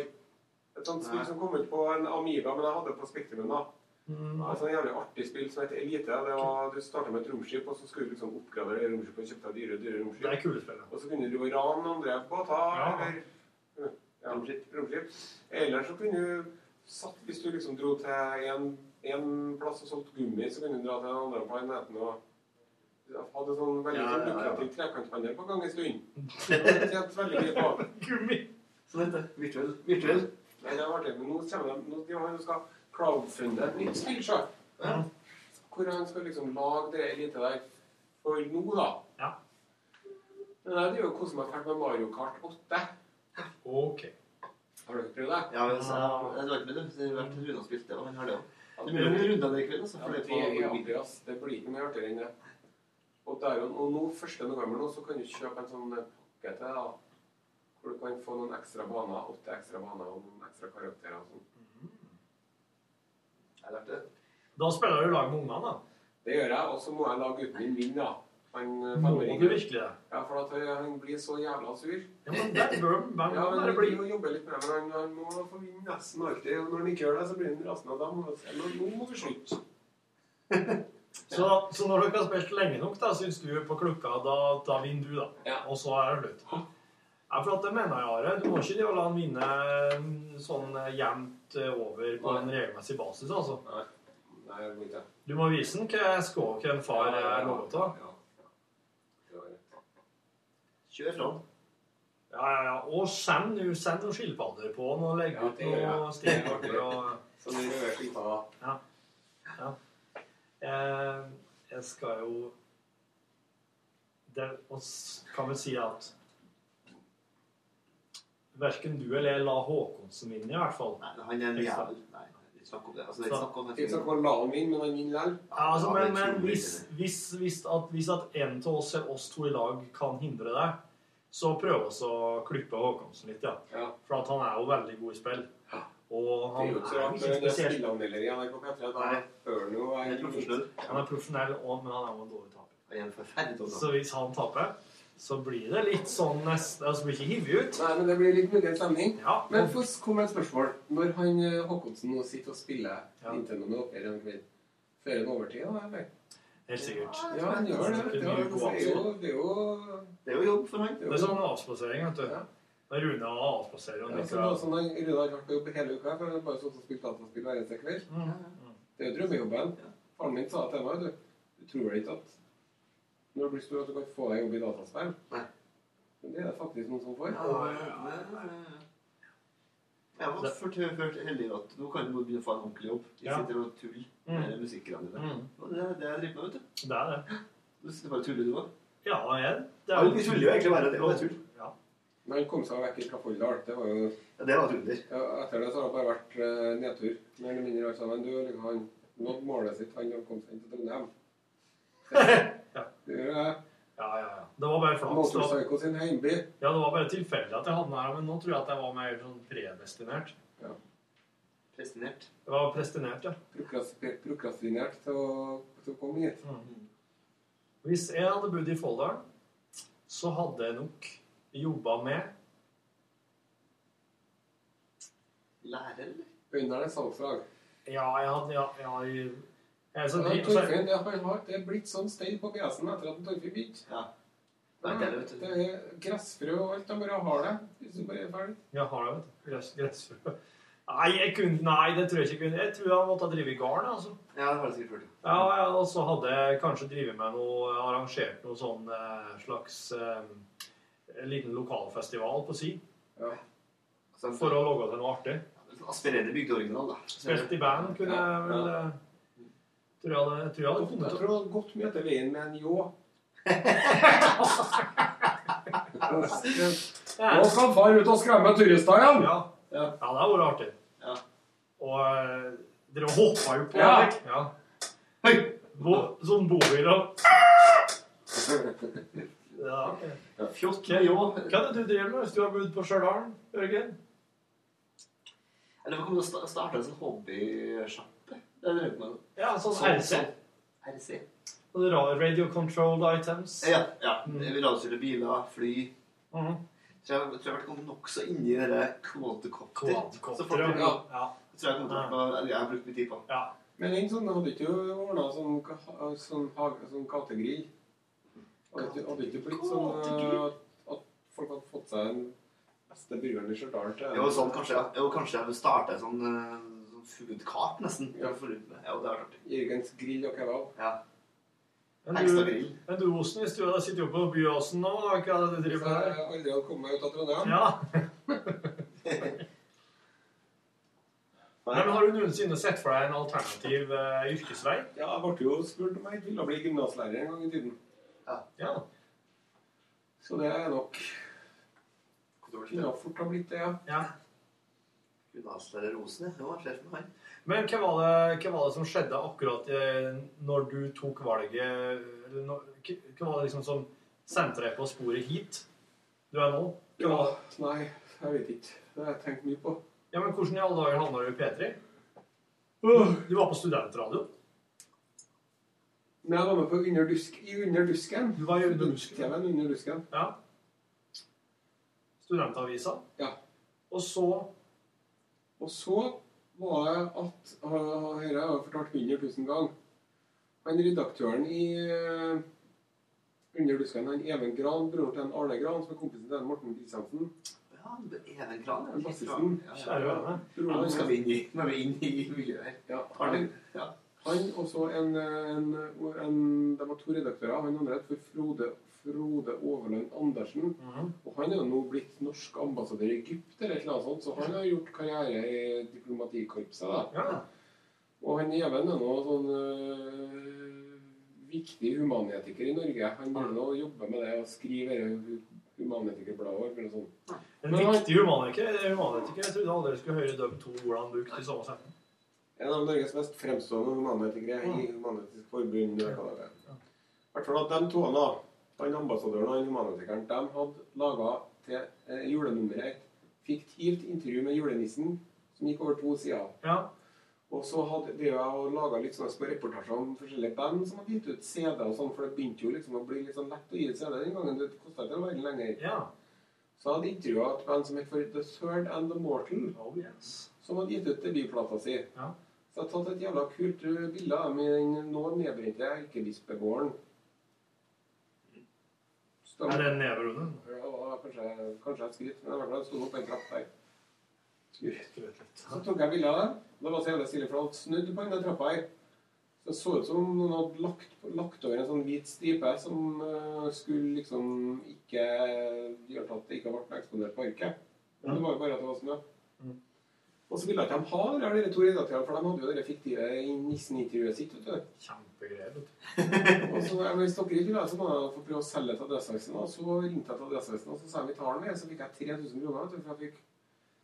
Et sånt spill
Nei.
som kom ut på en Amiga, men jeg hadde det på Spektrumen da.
Mm.
Altså en jævlig artig spill som heter Elite. Det var, Du starta med et romskip, og så skulle du liksom oppgradere det romskipet og kjøpte deg dyre, dyre romskip.
Det er kule spill,
Og så kunne du drive og rane andre båter
Ja.
eller ja, romskip. romskip. Eller så kunne du satt, Hvis du liksom dro til en, en plass og solgte gummi, så kunne du dra til den andre planeten og ja, hadde sånn veldig
Ja,
sånn
ja, ja.
lukrativ trekanthandel på gang en stund. Tjente veldig mye på
[laughs] Gummi! Sånn
Så dette virtuell. virtuell. Nei, det var det, men nå kommer de Nå de har jo skal crowdfunde et nytt spill, sjø. Hvor han skal liksom lage det lite der for nå, da.
Ja.
Men jeg driver jo og koser meg fælt med Mario Kart 8.
Ok.
Har dere prøvd det?
Ja, men så, jeg drar ikke med dem. så Det har vært Rune og spilt det, og han har det òg. Det er mulig vi runder det i kveld. Altså,
Ja,
for
det,
det er på,
er artig, ass. det blir ikke mye artigere enn det. Og, det er jo, og nå, 1. november nå, så kan du kjøpe en sånn eh, pakke til da, hvor du kan få noen ekstra baner, åtte ekstra baner og noen ekstra karakterer og sånn. Jeg lærte det.
Da spiller du lag med ungene, da.
Det gjør jeg, og så må jeg la gutten min vinne, da. Han, eh,
Må
femåringen.
du virkelig det?
Ja, for at eh, han blir så jævla sur.
Ja, men det bør han
Ja,
må
men
det
vi
bli.
må jobbe litt med det, men han, han må få vinne nesten alltid. Og når han ikke gjør det, så blir han rasende. og Da må vi si, nå må vi slutte.
Så, så når dere har spilt lenge nok, da, syns du på klokka, da, da vinner du, da. Og så er det slutt. Ja, for at det mener jeg, Are. Du må ikke drive og la han vinne sånn eh, jevnt eh, over på en regelmessig basis, altså.
Nei, jeg må ikke.
Du må vise han hva skåk en far eh, er lovet av.
Kjør fram.
Ja, ja, ja. Og send, nå- send noen skilpadder på han og legg ut
det gjør jeg.
noen
[laughs]
stilkaker og
Så det gjør jeg ikke da.
Ja. ja. Eh, jeg skal jo det, Og s- kan vel si at Verken du eller jeg la Håkonsen vinne, i hvert fall.
Han er en
Ikke sant?
jævel. Nei, vi snakker om det. Altså, det er ikke snakk om
Ikke snakk om å la han vinne, men han vinner likevel.
Ja, altså, men,
det er
men
utrolig
hvis, hvis, hvis, at, hvis at en av oss eller oss to i lag kan hindre det, så prøv oss å klippe Håkonsen litt, ja. For at han er jo veldig god i spill. Og
Det er
han
jo ikke så
er
rart
ikke
når det er
spesielt
spillanmelder i NRK P3. Da hører han jo
Han er profesjonell. Han er profesjonell også, men han er jo en dårlig taper. Så hvis han taper, så blir det litt sånn nesten Altså blir ikke hivig ut.
Nei, men det blir litt mulig stemning.
Ja.
Men få komme med et spørsmål. Når han eh, Håkonsen nå sitter og spiller Nintendo med dere en kveld, fører han overtid da, eller?
Helt sikkert.
Ja, han gjør det. vet du.
Det blir god
Det er jo, det
avstand.
er jo
Det er jo jobb for han.
Det er sånn avspasering, vet du. Når Rune avspaserer og
Ja, så
nikker
det er sånn han Rune har vært på jobb hele uka, for han har bare stått og spilt dataspill hver eneste kveld.
Mm.
Det er jo drømmejobben. Faren min sa til meg, du, du tror vel ikke at når du blir stor at du kan få deg jobb i dataspill? Nei. Men det er det faktisk noen som får.
Jeg har ført, hørt heldig at nå kan du bare begynne å få en ordentlig jobb. De
Ja.
sitter og tuller med musikkgreiene dine.
Mm.
Og Det er det jeg driver med, vet du.
Det er det.
Du sitter bare og tuller, du òg.
Ja, jeg
Ja, vi tuller jo egentlig bare. Det er bare tull.
Ja.
Men han kom seg vekk fra Folldal. Det var jo
Ja, det var et under.
Ja, etter det så har det bare vært eh, nedtur. Mer eller mindre alt sammen. Du har liksom han nådd målet sitt, han har kommet seg inn til
[laughs]
Trondheim. Det gjør jeg.
Ja, ja, ja. Det var bare flaks. da.
Motorpsycho sin heimby.
Ja, det var bare tilfeldig at jeg havna her, men nå tror jeg at jeg var mer sånn predestinert.
Prestinert.
Det var prestinert, ja.
Prokrastinert, prokrastinert til å, til å komme hit.
Hvis jeg hadde bodd i Folldal, så hadde jeg nok jobba med
Lærer, eller?
Under det salgslag.
Ja, jeg hadde ja, ja, jeg, jeg Eh, så
Ja,
de- så-
Torfinn, det har vært- det er blitt sånn stein på PC-en etter at Torfinn begynte.
Nei, det er det,
Det er gressfrø og alt. De bare har det. Hvis du bare er ferdig.
Ja, har det, vet du. Gress, gressfrø. Nei, jeg kunne, nei, det tror jeg ikke jeg kunne. Jeg tror jeg måtte ha drevet i garn. altså.
Ja, det har du sikkert hørt.
Ja, ja, Og så hadde jeg kanskje drevet med noe, arrangert noe sånn eh, slags eh, liten lokalfestival på si. For å logge til noe artig.
Aspirerende bygdeoriginal, da.
Spilt i band kunne jeg vel eh, Tror jeg hadde, tror jeg hadde funnet
Jeg tror det hadde gått mye etter veien med en ljå.
[laughs]
Nå skal far ut og skremme turister igjen!
Ja. ja, det hadde vært artig. Og eh, dere hoppa jo på.
Ja.
eller? ja. Bo, sånn bobil og ja, okay.
Fjott
med ljå. Hva er det du driver med hvis du har bodd på Stjørdal, Jørgen?
Eller hva om du sta- starter en sånn hobbysjappe? Det er det jeg med.
Ja, sånn
Sånn-
RC.
sånn. RC.
Sånn ra- Radio controlled items. Mm.
Ja, ja. Vi radiostyrer biler, fly.
Mhm.
Så jeg tror jeg har vært kommet nokså inn i det der kvadkopter.
Quadcopter,
Så folk-
ja.
ja. Jeg tror jeg kommer til å være med- eller jeg har brukt mye tid på.
Men en sånn hadde ikke ordna sånn, ka- sånn, hage- sånn gategrill. Hadde ikke- hadde ikke blitt sånn eh, at, at folk hadde fått seg den beste burgeren i Stjørdal til
Jo, sånn kanskje, ja. jo, kanskje jeg starter en sånn, eh, sånn food cart, nesten. Ja, for, ja det er artig.
Jørgens grill og kebab.
Ja.
Men du, men du Osen, hvis du hadde sittet oppe på Byåsen nå, da, hva er det du driver med der?
Jeg aldri hadde kommet meg ut av Trondheim.
[laughs]
Ja. Nei, men Har du noensinne sett for deg en alternativ eh, yrkesvei?
Ja, jeg ble jo spurt om jeg ikke ville bli gymnaslærer en gang i tiden.
Ja.
Så det er nok Kunne fort ha blitt det, ja.
ja.
Gymnaslærer Rosen, ja. Jo, jeg ser for meg han.
Men hva var, det, hva var det som skjedde akkurat eh, når du tok valget eller når- Hva var det liksom som sendte deg på sporet hit du er nå?
Ja, nei, jeg vet ikke. Det har jeg tenkt mye på.
Ja, men Hvordan i alle dager havna du i P3? Du var på studentradio.
Men jeg var med på Under, dusk, i Under dusken.
Du var i Under dusken?
TV-en Under dusken.
Ja. Studentavisa.
Ja.
Og så
Og så var det at øh, Dette har jeg fortalt 100 000 ganger. Han redaktøren i øh, Under dusken, han Even Gran, broren til han Arne Gran, som er kompisen til han Morten Kristiansen
Ja, det er Even Kran.
Han bassisten.
Ja, ja, ja.
Broren
Ja, nå
hans.
skal vi inn i, nå er vi inn i miljøet her.
Ja,
Har
han,
du- ja.
han og så en, en, en Det var to redaktører. Han andre het for Frode, Frode Overland Andersen.
Mhm.
Og han er jo nå blitt norsk ambassadør i Egypt, eller et eller annet sånt, så han har gjort karriere i diplomatikorpset. da. Og han Even er nå sånn øh, viktig humanetiker i Norge. Han burde nå jobbe med det og skrive dette humanetikerbladet eller sånn. noe sånt.
En
Men han-
viktig humanetiker. en humanetiker. Jeg trodde aldri jeg skulle høre de to ordene brukt i samme setning.
En av Norges mest fremstående humanetikere i Human-Etisk Forbund. eller hva det er. I hvert fall at de to, da, han ambassadøren og han humanetikeren, de hadde laga til eh, julenummeret et fiktivt intervju med julenissen som gikk over to sider. Og så hadde de laga litt sånne små reportasjer om forskjellige band som hadde gitt ut CD og sånn, for det begynte jo liksom å bli litt sånn lett å gi ut CD den gangen. Det kosta ikke veldig lenger. Så hadde intervjua et band som het for The Third and The Mortal,
Oh,
som hadde gitt ut debutplata si. Så jeg har tatt et jævla kult eh, bilde av dem i den nå nedbrente erkebispegården. Stemmer.
Er det nedbrunnet?
Ja, det var kanskje, kanskje jeg skryter, men i hvert fall sto det oppe en trapp der.
Skrøt litt.
Så tok jeg bilde av det. Det var så jævla stille, for han snudde på denne trappa her. Så det så ut som noen hadde lagt, lagt over en sånn hvit stripe som eh, skulle liksom ikke gjøre at det ikke ble eksponert på arket. Men det var jo bare at det var snø.
Mm.
Og så ville ikke de ha det her, dere to redaktørene, for de hadde jo det fiktive nissen-intervjuet sitt. vet du.
Kjempegreier. vet
[laughs]
du.
Og så, ja, men Hvis dere ikke vil ha det, så må jeg få prøve å selge det til Adresseavisen. Og så ringte jeg til Adresseavisen, og så sa jeg vi tar den med. Så fikk jeg 3000 kroner. vet du, for jeg fikk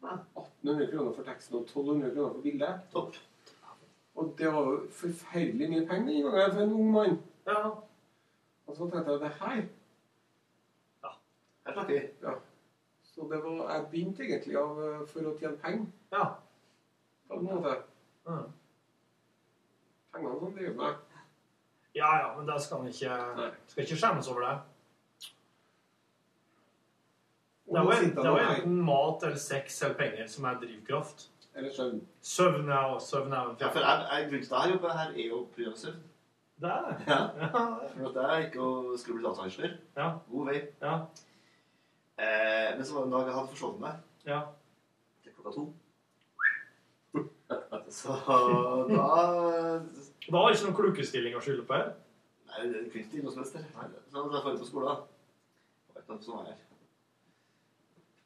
1800 kroner for teksten og 1200 kroner for bildet. Og det var jo forferdelig mye penger den gangen for en ung mann. Og så tenkte jeg det her
Her snakker vi.
ja. Så det var, jeg begynte egentlig av, eh, for å tjene penger.
Ja.
På en måte.
Ja.
Pengene som driver meg.
Ja, ja, men det skal man ikke Skal ikke skjemmes over det.
Og
Det
nå
var,
sitter
det var
han her.
enten mat eller sex eller penger som er drivkraft.
Eller søvn.
Søvn er jo søvn er jo-
Ja, for jeg, jeg, grunnen til at jeg jobber her, er jo pga. søvn.
Det er det.
Ja. [laughs] For at jeg gikk og skulle bli dataingeniør. God vei. Eh, men så var det en dag jeg hadde forsovet meg.
Ja.
Til klokka to. [laughs] Så da
Da var det ikke noen klukestilling å skylde på her.
Nei, det kunne ikke noe som helst. der. Så da drar jeg på skolen. da. Det var ikke noe som var her.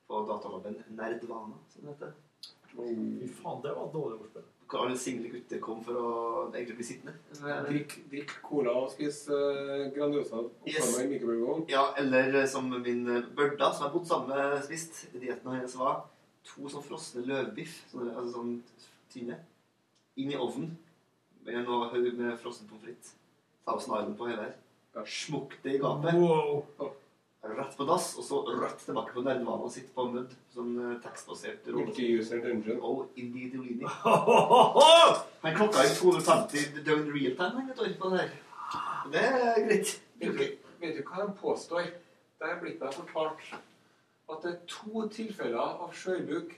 På datalaben Nerdvana, som det heter.
Fy faen, det var et dårlig ordspill.
Hvor alle single gutter kom for å egentlig bli sittende.
Drikk, drikk cola og spis eh, Grandiosa.
Yes.
Oppvarma i mikrobølgeovn.
Ja, eller som min Børda, som jeg bodde sammen med, spiste. Dietten hennes var to sånn frosne løvbiff, sånne, altså sånn tynne, inn i ovnen med noe høy med frossen pommes frites. Ta av snaren på hele her. Smukk det i gapet. Rett på dass, og så rett tilbake på nerdvanen og sitte på mud. Sånn eh, tekstbasert rolle.
Multi-user dungeon.
Oh, indeed, Olini. Han klokka i 250 døgn real time, han, vet du, på det her. Og Det er greit.
Vet du, vet du hva de påstår? Det er blitt meg fortalt at det er to tilfeller av sjøbruk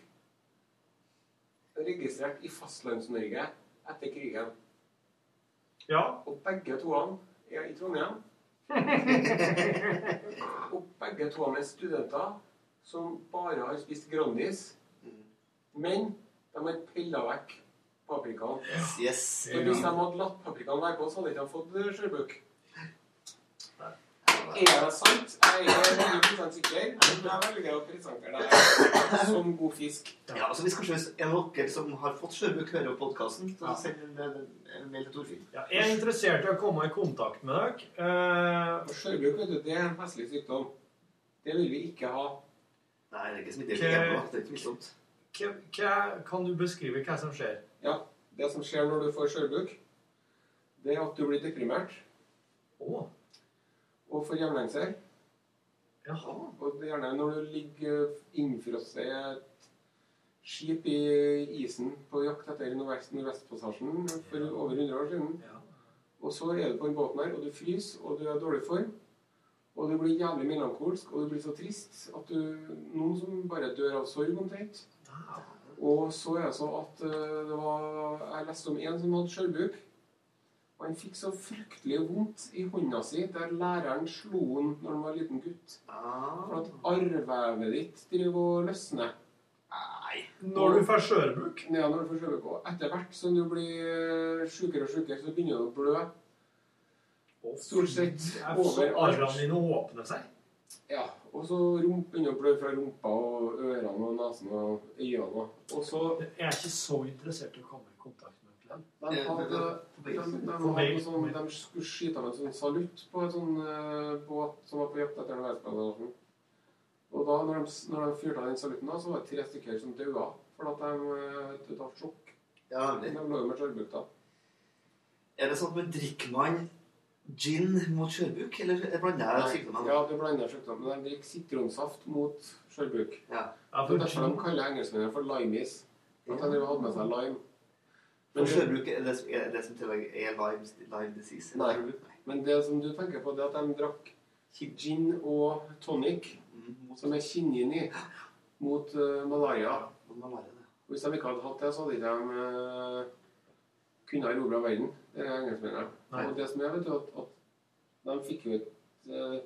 registrert i Fastlands-Norge etter krigen.
Ja.
Og begge toene er i Trondheim. og begge toene er studenter som bare har spist Grandis. Men de har pilla vekk paprikaen.
Yes.
For hvis de hadde latt paprikaen være på, så hadde de ikke fått eh, sjøbruk. Er det sant? Jeg er 100 sikker. Men jeg velger å presentere deg som god fisk.
Ja, altså Hvis kanskje en av dere som har fått sjøbruk, hører podkasten, så send en, eh, en mail til Torfinn.
Jeg er interessert i å komme i kontakt med dere.
Eh, Sjøbruk vet du, det er en festlig sykdom. Det vil vi ikke ha.
Nei, det er ikke
smittelig. Det er ikke bra.
Det er ikke smittsomt.
Hva, hva, kan du beskrive hva som skjer?
Ja, det som skjer når du får sjølbruk, det er at du blir deprimert. Og får jevnlengser. Og det er gjerne når du ligger innfrosset i et skip i isen på jakt etter Nordvest- Nordvestpassasjen for over 100 år siden. Og så er du på den båten her, og du fryser, og du er i dårlig form. Og du blir jævlig melankolsk, og du blir så trist at du Noen som bare dør av sorg, omtrent. Og så er det så at eh, det var, jeg leste om en som hadde sjølbruk. Og han fikk så fryktelig vondt i hånda si der læreren slo han når han var liten gutt. For at arrvevet ditt driver og løsner. Nei.
Når du får skjørbruk?
Ja, når du får skjørbruk. Og etter hvert som du blir eh, sjukere og sjukere, så begynner du å blø. Stort sett
Så arrene
overalt.
dine åpner seg?
Ja, og så rump, begynner å blø fra rumpa og ørene og nesen og øynene. Og så
Jeg er ikke så interessert i å komme i kontakt med dere.
De, hadde, de, de, hadde noe sånn, de skulle skyte av en sånn salutt på en sånn eh, båt som var på jakt etter Nordvestpassasjen. Og da, når de, når de fyrte av den salutten, da, så var det tre stykker som daua fordi at de eh, døde av sjokk.
Ja,
de
nemlig.
lå jo med skjørbuk, da.
Er det sånn at man drikker man gin mot sjøbruk, eller er det blander jeg sykdommene?
Ja, du blander sjukdommen. Men de drikker sitronsaft mot skjørbuk.
Ja.
det er derfor de kaller engelskmennene for limeis. At de hadde med seg lime.
Men sjøbruk er det, er det som i tillegg er Lyme, Lyme disease?
Nei. Men det som du tenker på, det er at de drakk gin og tonic, som er kinnin i, mot eh, malaria. Og Hvis de ikke hadde hatt det, så hadde ikke de eh, kunnet erobre verden. Det er engelskmennene.
Nei.
Og det som er, vet du, at, at de fikk jo et eh,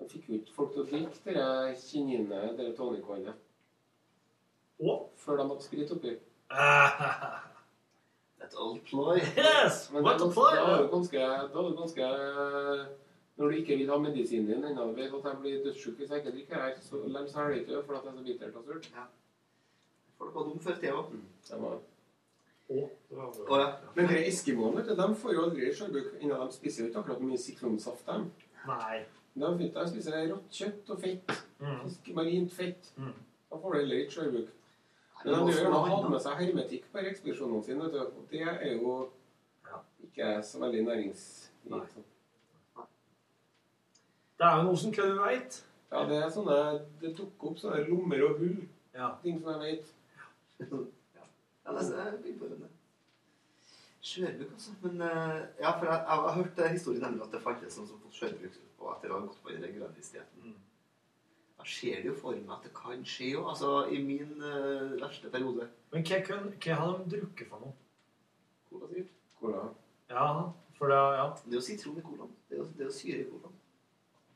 de fikk jo ikke folk til å drikke det kinninet, det tonicvannet. Før de hadde sprit oppi.
That old ploy.
Yes,
Men
what
det
a
er
ploy.
ganske- Da er du ganske, da er du ganske eh, Når du ikke vil ha medisinen din ennå, du vet at jeg blir dødssyk hvis jeg ikke drikker her, så lem så er det ikke fordi at jeg er så bittert og surt. Mm,
Folk var dumme før i tida òg.
Å,
ja.
Men dere eskimoene, vet du, de får jo aldri sjølbruk innen de spiser jo ikke akkurat mye sitronsaft, de.
Nei.
De vet at de spiser rått kjøtt og fett.
Mm.
Fisk, marint fett.
Mm.
Da får du heller ikke sjølbruk.
Nei,
Men
det
de
må
gjør
også være
jo
vann,
ha
da.
med seg hermetikk på ekspedisjonene sine, vet du. Og det er jo ikke så veldig næringsrikt.
Det er jo noe som kødder veit.
Ja, det er sånne Det dukker opp sånne lommer og hull. Ting som jeg vet.
Ja,
Altså,
det er bilbordene. Skjørbuk, altså. Men eh, ja, for jeg, jeg, har hørt eh, historien nemlig at det fantes noen som fikk skjørbuk på- etter å ha gått på den grønne istiden.
Jeg ser det jo for meg at det kan skje òg. Altså, I min eh, verste periode.
Men hva, kun, hva har de drukket for noe?
Cola, sikkert.
Ja, for det, ja.
Det er jo sitron i colaen. Det er jo, det er jo syre i colaen.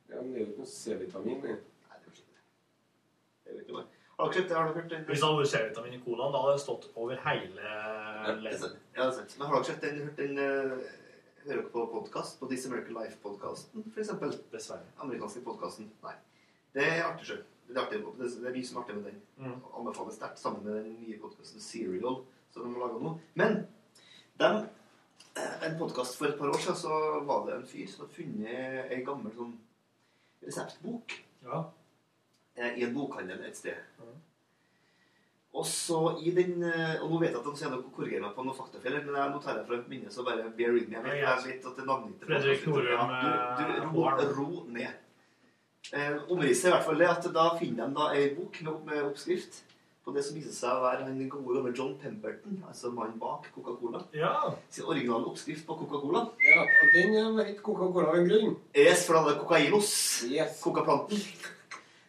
Ja, men det er jo ikke noe C-vitamin. det.
Jeg vet ikke hva. Har dere sett det? Har dere hørt det?
Hvis det hadde vært C-vitamin i colaen, da hadde det stått over hele
Ja, det er
leddet.
sant. Ja, det er sant. Men har dere sett den, hørt den eh, Hører dere på podkast? På This American Life-podkasten, f.eks.?
Dessverre.
Amerikanske podkasten. Nei. Det er artig sjøl. Det er artig. Det er- det er mye som er artig med den.
Mm.
Anbefales sterkt sammen med den nye podkasten Serial, som de har laga nå. Men dem, eh, en podkast for et par år siden, så var det en fyr som hadde funnet ei gammel sånn reseptbok eh, i en bokhandel et sted. Og så i den eh, Og nå vet jeg at de sier noe korrigerer meg på noen faktafeil, men jeg noterer fra et minne, så bare bear with me. Jeg vet, jeg vet at det navngitte
Fredrik
podcasten-
Norum,
Ja, du, du,
eh,
ro, ro ned. Eh, omrisset er i hvert fall det at da finner de da ei bok med, med oppskrift på det som viser seg å være den gode gamle John Pemberton, altså mannen bak Coca-Cola.
Ja.
Sin originale oppskrift på Coca-Cola.
Ja, og den het Coca-Cola av en grunn.
Yes, for da hadde kokainos. Kokaplanten.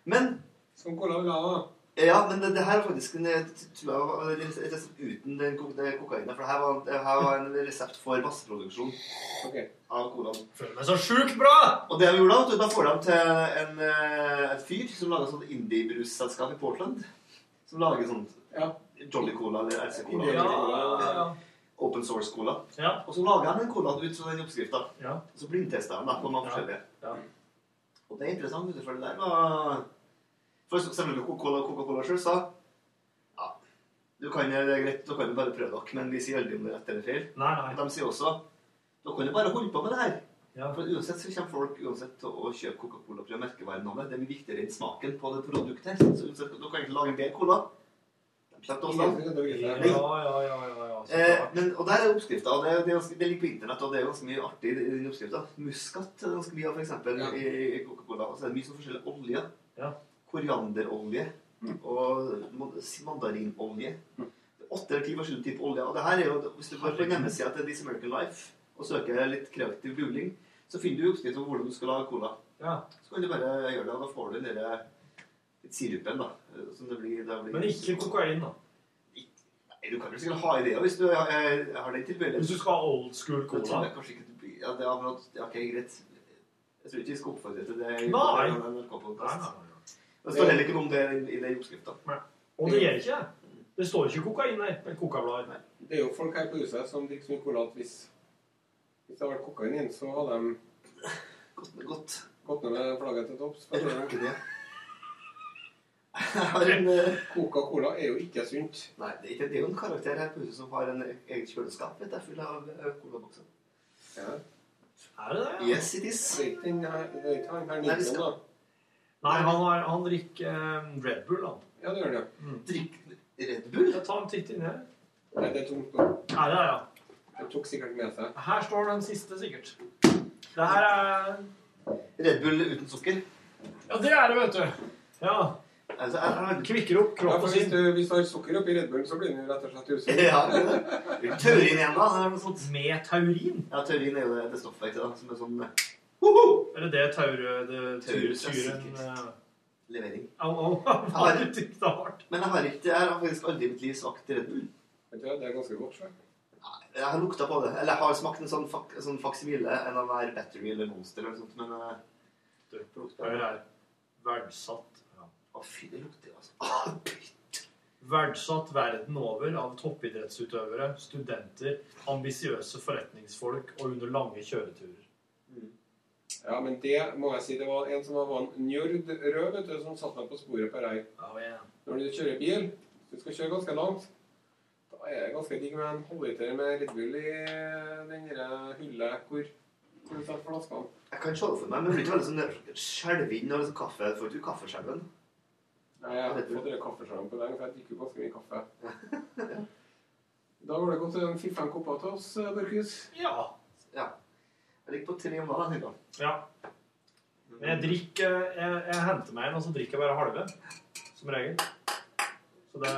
Men
Som cola vil ha. da.
Ja, men det, det her er faktisk en, eh, tror jeg, var en resept uten den kok den kokainen. For det her var, det her var en resept for masseproduksjon av colaen.
Føler meg så sjukt bra!
Og det vi gjorde da, vet du, da får de til en, eh, et fyr som lager sånn indie-brusselskap i Portland. Som lager sånn Jolly Cola eller RC Cola.
Ja, ja, ja.
Open source cola.
Ja.
Og så lager de den colaen ut fra den oppskrifta.
Ja.
Og så blindtester de da, på mange
Ja.
forskjellige.
Ja.
Og det er interessant, vet du, for det der var For selvfølgelig Coca-Cola Coca-Cola selv sa Ja, du kan, det er greit, dere kan jo bare prøve dere, men vi sier aldri om det er rett eller feil.
Nei, nei.
De sier også dere kan jo bare holde på med det her.
Ja.
For uansett så kommer folk uansett til å kjøpe Coca-Cola fra merkevarenavnet. Det er mye viktigere enn smaken på det produktet her. Så uansett, dere kan ikke lage en bedre cola. De slipper oss
Ja,
da.
ja, ja, ja, ja, ja. så
Eh,
klart.
men, og der er oppskrifta. og Det, er- det, er ganske- det ligger på internett, og det er ganske mye artig i den oppskrifta. Muskat er ganske mye av, f.eks. i i Coca-Cola. Og så er det mye sånn forskjellig olje.
Ja.
Korianderolje og man- si- mandarinolje. Det er Åtte eller ti forskjellige typer olje. Og det her er jo, Hvis du går på hjemmesida til This American Life og søker litt kreativ googling, så finner du oppskrift på hvordan du skal lage cola.
Ja.
Så kan du bare gjøre det, og da får du den derre sirupen, da. eh, Som det blir, det blir
Men ikke kokain, da.
Nei, Du kan jo sikkert ha ideer hvis du har, eh, har den tilbøyeligheten.
Hvis du skal ha old school cola.
Da tror jeg kanskje ikke du blir- Ja, det er akkurat ja, Ok, greit. Jeg tror ikke vi skal oppfordre til det. i-
Nei.
i en NRK-podcast.
Nei,
Det står heller ikke noe om det i, i den oppskrifta.
Og det gjør ikke det. Det står ikke kokain der. Men kokablader.
Det er jo folk her på huset som drikker så mye cola at hvis, hvis det hadde vært kokain inn, så hadde de
gått,
ned med flagget til topps. for å si
[laughs] det.
Coca-Cola er jo ikke sunt.
eh, Nei, det er, ikke, det er jo en karakter her på huset som har en e- eget kjøleskap vet du, full av eh, colabokser.
Er det det?
Yes, it is.
Det er ikke den her- det er ikke han her
Nei, vi
Nilsen,
skal-
da.
Nei, han, har, han drikker eh, Red Bull, han.
Ja, det gjør det.
Drikker Red Bull?
Ja, ta en titt inn her.
Nei, det er tungt nå.
Her, er, ja.
Det tok sikkert med seg.
her står den siste, sikkert. Det her er
Red Bull uten sukker.
Ja, det er det, vet du. Ja.
Altså, er, er,
Kvikker opp
Ja, for
kroppen
hvis
sin.
du, hvis du har sukker oppi Red Bullen, så blir den jo rett og slett usunn.
Ja, det er det. Taurin igjen, da. Er det noe sånt?
Med taurin?
Ja, taurin er jo det, det stoffet ikke, da, som er sånn eh,
Eller det taure... Det, ture,
Taurus er
turen eh,
levering.
Au, au. [laughs] Hva er det du tykte av?
Men jeg har ikke, jeg har faktisk aldri i mitt liv smakt Red Bull.
Vet du, hva, det er ganske godt. så.
Jeg har lukta på det. Eller jeg har smakt en sånn, fak, sånn faksimile en av hver Battery eller Monster eller noe sånt, men eh,
Du,
lukta
Hør her. Verdsatt. Ja.
Å, fy, det lukter altså ah,
Verdsatt verden over av toppidrettsutøvere, studenter, ambisiøse forretningsfolk og under lange kjøreturer.
Ja, men det må jeg si. Det var en som var en njord rød, vet du, som satte meg på sporet på rei. Når du kjører bil, du skal kjøre ganske langt, da er det ganske digg med en halvliter med Red Bull i den der hullet hvor hvor du tar flaskene.
Jeg kan se det for meg, men det blir ikke veldig sånn skjelvinn og liksom kaffe. Får ikke du kaffeskjelven?
Nei, jeg har ikke fått det kaffeskjermen på lenge, for jeg drikker jo ganske mye kaffe.
[laughs]
Da var det godt en fire-fem kopper til oss, Børkhus.
Ja.
ja. Jeg ligger på tre om dagen. tenker jeg.
Ja. Men jeg drikker jeg, jeg henter meg en, og så drikker jeg bare halve. Som regel. Så det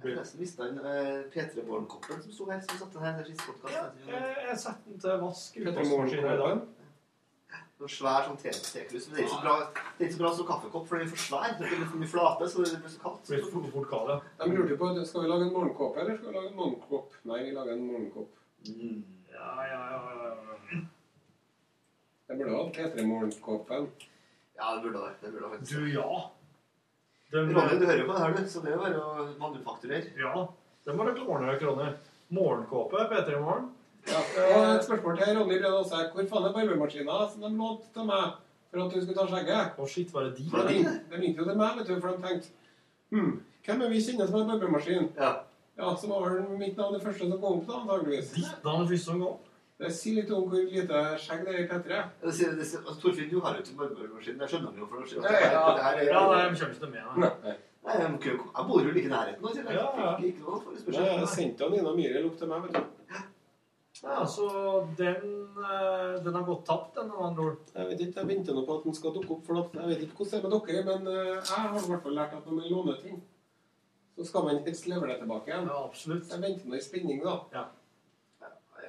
Jeg har nesten mista den eh, P3 Morgenkoppen som sto her. Som satt den her den siste podcasten.
Jeg, jeg setter den til vask i
Petter
oppvaskmaskinen i dag.
Sånn svær sånn te- tekrus. Men det er ikke så bra, det er ikke så bra som kaffekopp, for den er for svær. Det blir for mye flate, så det blir så kaldt.
Blir for fort kald, ja.
De lurte jo på skal vi lage en morgenkopp eller skal vi lage en morgenkopp. Nei, vi lager en morgenkopp.
Ja, ja, ja, ja, ja.
Det burde hatt hetere morgenkåpen.
Ja, det burde det. det burde det
Du, ja.
Ronny, du hører jo på det her, du. Så det er jo bare å manufakturere.
Ja. Det må dere ordne dere, Ronny. Morgenkåpe P3 i morgen.
Ja, og et spørsmål til Ronny Brød også her. Hvor faen er barbemaskina som de lånte til meg for at du skulle ta skjegget?
Å shit, var det de?
De ringte, de ringte jo til meg, vet du, for de tenkte Hm, hvem er vi kjenner som har barbemaskin?
Ja.
ja, som var vel mitt navn det første som kom opp, da, antageligvis. Ditt
navn det første som kom?
Det sier Eh, litt om hvor lite skjegg det er i P3.
Det sier, det sier, altså, Torfinn, du har jo ikke barbermaskin. Jeg skjønner jo for det.
Ja, ja. Ja, nei,
de kommer ikke til meg, nei.
Nei, de kan jo- jeg bor jo like i nærheten nå, sier jeg.
Ja, ja.
Ikke noe forespørsel.
Jeg sendte jo Nina Myhre opp til meg, vet du.
Ja, så altså, den, eh, den har gått tapt, den, med andre ord.
Jeg vet ikke, jeg venter nå på at den skal dukke opp. For at jeg vet ikke hvordan det er med dere, men eh, jeg har i hvert fall lært at når man låner ting, så skal man helst levere det tilbake igjen.
Ja, absolutt.
Jeg venter nå i spenning, da.
Ja.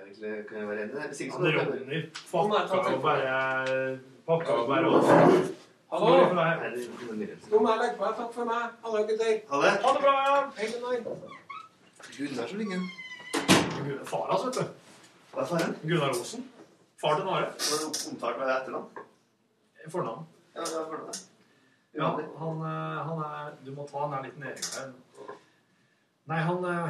Egentlig kan jeg være enig. Hvis ikke så-
Han Ronny fucka jo bare eh, Pakka jo bare
Hallo?
Sorry for deg.
Nei, det er ikke noe mer.
Nå må jeg legge på. Takk for meg. Hallo, gutter.
Ha det.
Ha det bra.
Hei, Gunnar.
Gunnar som ligger
Gunnar- Far hans, vet du.
Hva er faren?
Gunnar Osen. Far til Nare.
Var det omtalt med etternavn?
Fornavn.
Ja, det er for det.
Ja, han, eh, han er Du må ta han her litt nedi her. Nei, han eh,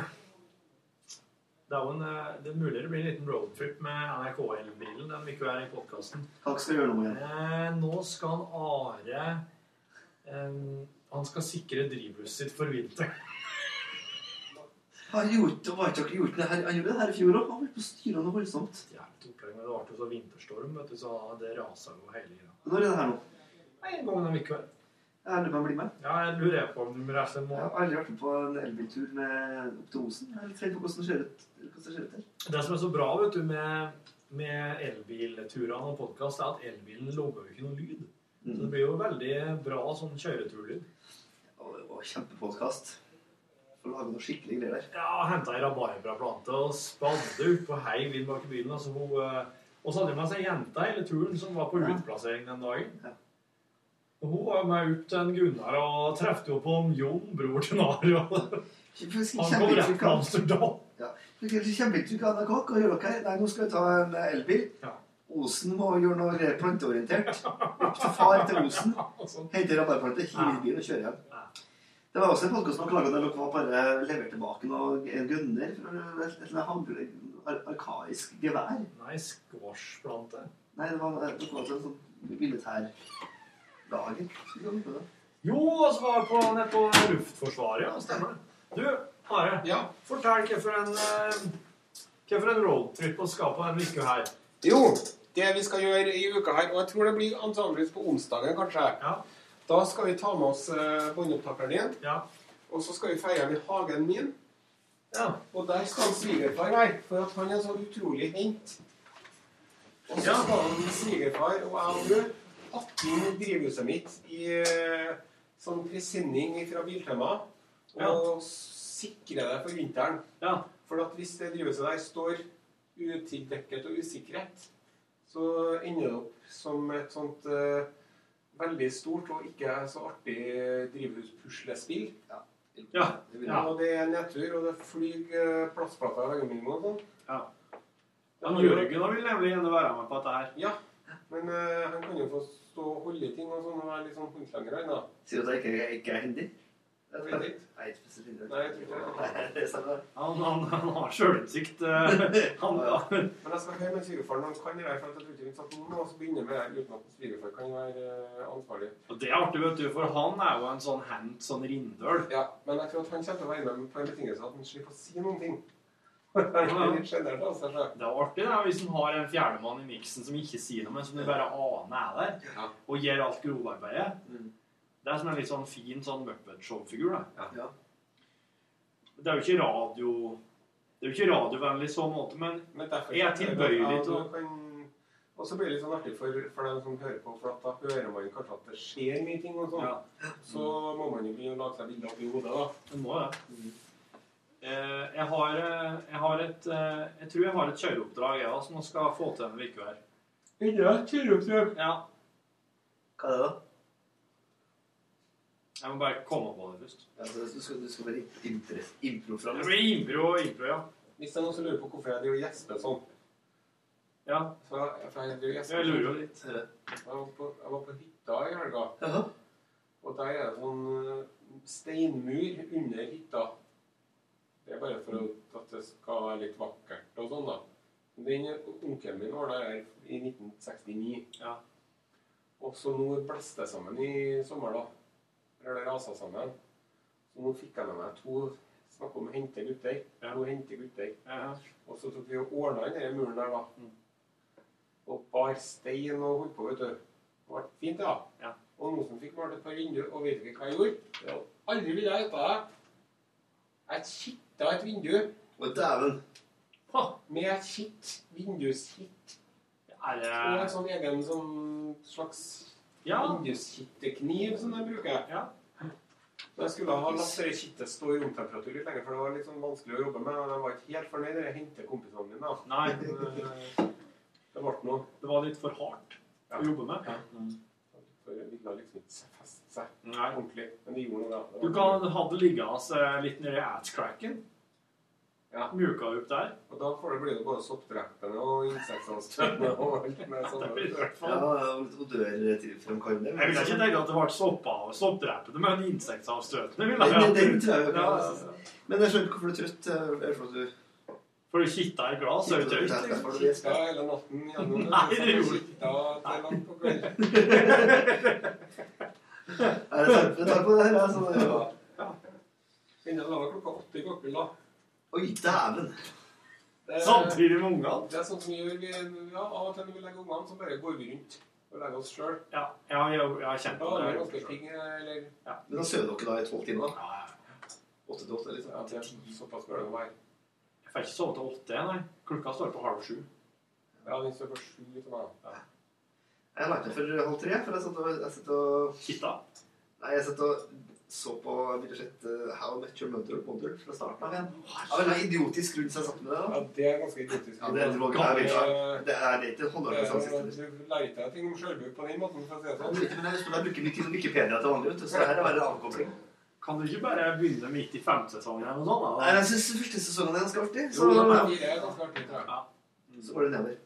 Det er jo en eh, Det er mulig det blir en liten roadtrip med NRK-elbilen. Den vil ikke være i podkasten.
Hva skal vi gjøre nå igjen?
Eh, nå skal han Are eh, Han skal sikre drivhuset sitt for vinteren.
Han gjorde, var ikke dere gjort det her, han gjorde det her i fjor òg. Han var på styrene og voldsomt.
Jævlig opplegg, men det ble jo så vinterstorm, vet du, så det rasa jo hele greia.
Når er det her nå?
Nei, En gang om ikke hver.
Jeg lurer på om jeg blir med.
Ja, jeg lurer på om du reiser en
Jeg har
måned.
aldri vært med på en elbiltur med opp til Osen. Jeg er litt redd for hvordan det ser ut, hvordan det ser ut der.
Det som er så bra vet du, med, med elbilturene og podkast, er at elbilen logger jo ikke noe lyd. Så
Mm.
det blir jo veldig bra sånn kjøreturlyd.
Og det var kjempepodkast. Får lage noe skikkelig greier der.
Ja, henta ei rabarbraplante og spadde opp og heiv inn bak i bilen. Og så hun, eh, og så hadde jeg med seg ei jente hele turen som var på utplassering den dagen. Og hun var jo med ut til en Gunnar og traff jo på en Jon, bror til
[laughs]
Naro. Han kom rett fra Amsterdam.
Ja. Fikk helt Kjempeinntrykk av NRK. Hva gjør dere? Nei, nå skal vi ta en eh, elbil. Osen må gjøre noe planteorientert. Opp til far til
[laughs]
Osen.
sånn.
Hente rabarbraplante, hive i bilen og kjøre hjem. Det var også en podkast som klaga der dere var bare leverte tilbake noe en gunner. fra Et eller annet ar arkaisk gevær.
Nei, squashplante.
Nei, det var, det var også en sånn militærlager. Skulle vi kalle det.
Jo, og så var jeg på, nett på Luftforsvaret, ja. Stemmer det. Du, Are. Fortell hvorfor en, eh, hvorfor en roadtrip å skape en uke her.
Jo, det vi skal gjøre i uka her, og jeg tror det blir antageligvis på onsdagen, kanskje Da skal vi ta med oss eh, båndopptakeren din. Og så skal vi feire med hagen min. Og der skal han svigerfar være, for at han er så utrolig hent. Og så skal han svigerfar og jeg og du pakke inn drivhuset mitt i eh, sånn presenning fra Biltema. Og sikre det for vinteren. For at hvis det drivhuset der står utildekket og usikkerhet, så ender det opp som et sånt eh, veldig stort og ikke så artig drivhuspuslespill. Ja.
Ja.
Og det er nedtur, og det flyr eh, plastplater i veggene mine og sånn. Ja.
Han Jørgen han vil nemlig gjerne være med på dette her.
Ja, men eh, han kan jo få stå og holde i ting og sånn og være litt sånn håndslanger han, da.
Sier du at jeg ikke, jeg ikke er hindi?
Jeg vet ikke.
Nei, ikke spesielt hindi.
Nei, jeg tror ikke det.
Nei, [laughs] det er sant, det.
Han, han, han har sjølinnsikt.
[laughs]
eh, Han,
Ja. Men jeg skal høre med svigerfaren når han kan det der, for jeg tror ikke vi satt noen av oss begynner med det her uten at svigerfar kan være eh, ansvarlig.
Og det er artig, vet du, for han er jo en sånn hand, sånn rindøl.
Ja, men jeg tror at han kommer til å være med på en betingelse at han slipper å si noen ting. [laughs] Han er litt altså, sjenert av seg selv.
Det er artig det, hvis en har en fjerdemann i miksen som ikke sier noe, men som du bare aner er der, og gjør alt grovarbeidet.
Mm.
Det er som en litt sånn fin sånn Muppet-show-figur. da. Det er jo ikke radio... Det er jo ikke radiovennlig i så måte, men, jeg er tilbøyelig til å...
Og så blir det litt sånn artig for, for dem som hører på, for at da hører man kanskje at det skjer mye ting og sånn. Så må man jo begynne å lage seg bilder opp i hodet, da.
Du må det. Eh, jeg, har, eh, jeg har et eh, Jeg tror jeg har et kjøreoppdrag jeg, da, som jeg skal få til en uke her.
Enda et kjøreoppdrag.
Ja.
Hva er det, da?
Jeg må bare komme på det først.
Altså, du, skal, du skal være interess- impro fra
Det blir impro og impro, ja.
Hvis det er noen som lurer på hvorfor jeg driver og gjesper sånn
Ja.
For jeg, for jeg driver og gjesper
Jeg lurer jo
sånn.
litt.
Jeg var på, jeg var på hytta i helga. Og der er det sånn eh, steinmur under hytta. Det er bare for å- at det skal være litt vakkert og sånn, da. Den onkelen min var der i 1969. Og så nå blåste det sammen i sommer, da. Eller det rasa sammen. Så nå fikk jeg med meg to Snakk om å hente gutter. To hente gutter. Og så tok vi og ordna inn den muren der, da. Og bar stein og holdt på, vet du. Det ble fint, da. Og noen som fikk malt et par vinduer, og vet ikke hva jeg gjorde? Aldri ville jeg hete det. Jeg kitta et vindu.
Og dæven.
Ha, Med et kitt. Vindusskitt.
Er det
Og en sånn egen sånn slags
Ja.
vinduskittekniv som de bruker. Men Jeg skulle ha latt det kittet stå i romtemperatur litt lenger, for det var litt sånn vanskelig å jobbe med. Og jeg var ikke helt fornøyd da jeg hentet kompisene mine. da. [laughs]
Nei.
Men, eh, det ble noe.
Det var litt for hardt å jobbe med.
For det ville liksom ikke feste seg ordentlig. Men det gjorde noe, da. Det
Du
var-
kan ha det liggende eh, litt nedi atscracken.
Ja.
Mjuka opp der.
Og da får det bli det både soppdrektene og insektene og alt
[laughs]
med sånn.
Det blir i hvert
Ja,
fall.
og dør til fremkallende.
Jeg ville ikke tenke at det ble soppa og soppdrepende, men insektavstøtende ville
Den, den, den tror jeg
Ja,
jo ikke.
ja, ja.
altså. Men jeg skjønner ikke hvorfor du er trøtt. Jeg jeg skjønner at du...
For du kitta i glass, er du
Kitta i glass,
tøyt?
var du det? Kitta
hele natten gjennom.
Nei, det gjorde du
ikke. til langt på kvelden.
Er det sant? Jeg tar på det her, altså.
Ja. Innan det var klokka åtte i går kveld, da.
Oi, dæven.
Det er-
Samtidig med ungene.
Det er sånn som vi gjør vi, ja, Av og til når vi legger ungene, så bare går vi rundt og legger oss sjøl.
Ja, ja, ja, ja, kjent på
Da er
det.
vi ganske ting, eller
Men da sover dere da i tolv timer? da? Åtte til åtte, liksom?
Ja, det er såpass bør det være.
Jeg får ikke sove til åtte, nei. Klokka står på halv sju.
Ja, den står på sju for meg.
Ja.
Jeg la meg for halv tre, for jeg satt og, jeg satt og
Kitta?
Nei, jeg satt og så på ville sett eh, How I Met Your Mother Mother fra starten av igjen. Av en eller annen idiotisk grunn så jeg satt med det. da.
Ja, det er ganske idiotisk.
Ja, det, er- det, var- jeg vet ikke. det er det er ikke holdbarhetsavsnitt.
Du lærer deg ting om sjølbruk på den måten, for å si det
Men
sånn.
jeg husker jeg bruker mye tid på Wikipedia til vanlig, vet du, så det her er bare en avkobling.
Kan du ikke bare begynne midt i femte sesongen eller noe sånt? da?
Nei, jeg syns første sesongen er ganske artig.
Jo,
Så,
det er det er ganske artig, tror jeg.
så går det nedover.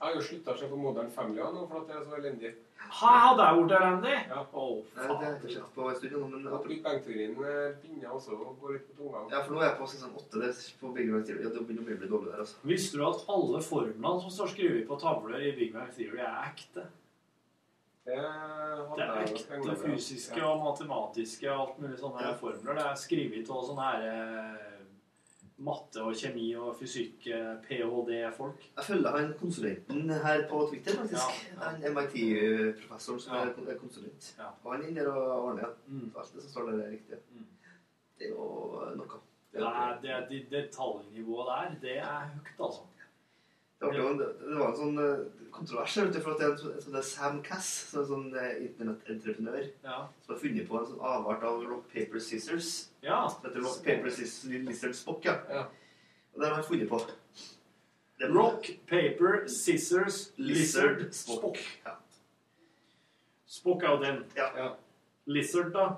Jeg har jo slutta å se på Modern Family nå, for at det er så elendig.
Ha, hadde jeg vært der, Andy?
Ja.
Nei, det har jeg ikke sett på en stund. nå, Men
Og Big Bang-teorien eh, begynner også å gå litt på tunga.
Ja, for nå er jeg på sesong åtte. Det er på Big Bang Theory. Ja, det begynner å bli dårlig der, altså.
Visste du at alle formlene som står skrevet på tavler i Big Bang Theory, er ekte?
Det hadde jeg nok
Det er
en gang,
ekte
ja.
fysiske
Ja.
og matematiske og alt mulig sånne her formler. Det er skrevet av sånne her eh, matte og kjemi og fysikk, eh, ph.d.-folk.
Jeg følger han konsulenten her på Twitter, faktisk. Han MIT-professoren som er kon- er konsulent. Og han er inne der og ordner ja.
Mm.
Så alt det som står der, er riktig. Det er jo noe.
Det, er- det, er- det detaljnivået der, det er høyt, altså.
Det var, jo en, det var en sånn eh, kontrovers her, vet du, for at det er en sånn- en sånn der Sam Cass, som er en sånn eh, internettentreprenør,
Ja.
som har funnet på en sånn avart av rock, paper, scissors.
Ja.
Som heter rock, paper, scissors, lizard, spock, ja. Og det har han funnet på. Det er-
Rock, paper, scissors, lizard, spock. Spock er jo den. Lizard, da?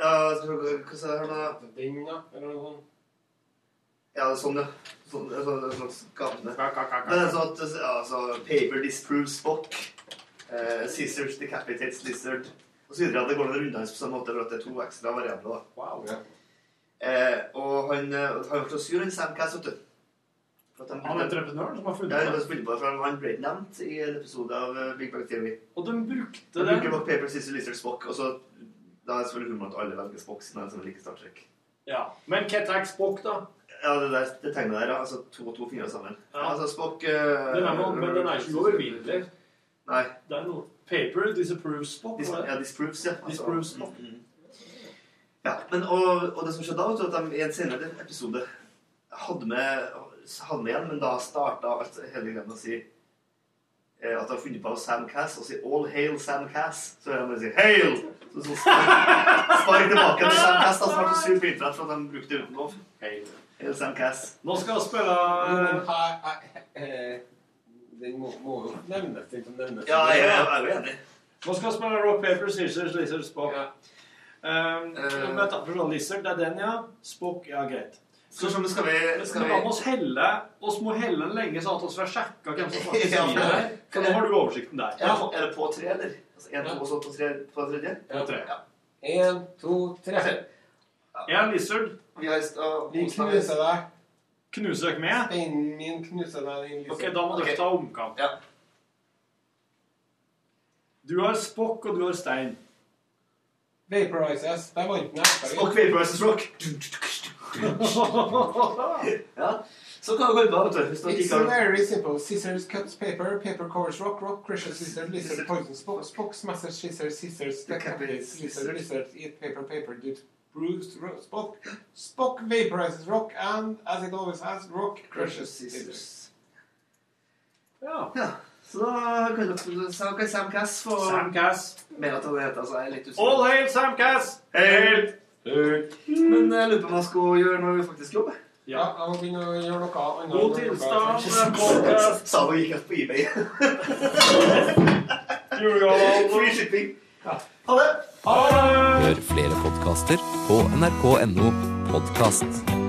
Ja, skal vi- hva sa jeg her da?
Den, ja? Eller noe sånt?
Ja, sånn, ja. Sånn, det er sånn, det er sånn skapende. Men det er sånn at altså, Paper disproves Spock. Eh, scissors decapitates lizard. Og så videre at det går noen rundhans på samme måte, for at det er to ekstra variabler. da. Eh, og han, eh, han har vært så sur, han Sam Cass, vet du. For at
Han er entreprenøren som har funnet
ja,
på
han
det.
har funnet på det. for Han ble nevnt i en episode av eh, Big Bang Theory.
Og de brukte
Han
den.
bruker nok Paper Scissors Lizard Spock, og så da er det selvfølgelig humor at alle velger Spock, siden han er sånn like Star Trek.
Ja. Men Ketak Spock, da?
Ja, det, der, det tegnet der, ja. altså to og to fingre sammen.
Ja.
Altså Spock eh,
Den er, noe- men den er ikke overvinnelig.
Nei.
Det er noe Paper disapproves Spock.
Dis,
var det?
ja, disproves, ja.
Disproves
mm, mm. Ja, men og, og det som skjedde da, var at de i en senere episode hadde med, hadde med igjen, men da starta alt hele greia med å si eh, at de har funnet på Sam Cass, og si 'All hail Sam Cass'. Så er de bare sier 'Hail!' Så, så spark, spark tilbake til Sam Cass, da, som var så surt på internett for at de brukte det uten lov.
Hail.
Sam Cass.
Nå skal vi spille
Men, hei, hei, eh, den må, må jo nevnes, den som nevnes.
Ja, jeg er- jeg er enig.
Nå skal vi spille rock, paper, scissors, lizard, spock. Um,
Eh.
Metafor lizard, det er den, ja. Spock, ja, greit.
Skal vi se, men sånn, skal vi- skal
Men
vi-
da må oss helle oss må helle den lenge, sånn at vi får sjekka hvem som faktisk
Ja,
sier
for-
det. her. For nå har du oversikten der.
Er det, er det på tre, eller? Altså, en, to, og så på tre? På tredje?
På tre.
En, to, tre.
Jeg er lizard.
Vi har st- og-
Vi
Oslo-
knuser deg.
Knuser dere med?
Steinen min knuser deg. Din
Ok, da må dere ta omkamp. Du har spokk, og du har stein.
Vaporizes. Der vant den.
Spock, vaporizes, rock. ja. Så kan det gå bra, vet du. Hvis dere
It's
ikke har
very simple. Scissors cuts paper. Paper covers rock. Rock crushes scissors. Lizard poisons spock. Spock smashes scissors. Scissors decapitates lizard. Lizard eat paper. Paper gets bruised. Ro- Spock. Spock vaporizes rock. And as it always has, rock crushes scissors.
Ja.
Så da kan dere- så kan Sam Cass få
Sam Cass.
Med at han heter, så er jeg litt usikker.
All hail Sam Cass!
Hail! Men jeg lurer på om jeg skal gjøre noe faktisk jobb. jeg.
Ja, jeg må begynne å gjøre noe annet.
God
tilstand.
Sa hun gikk rett på eBay. Free shipping. Ha det.
Hør flere podkaster på nrk.no podkast.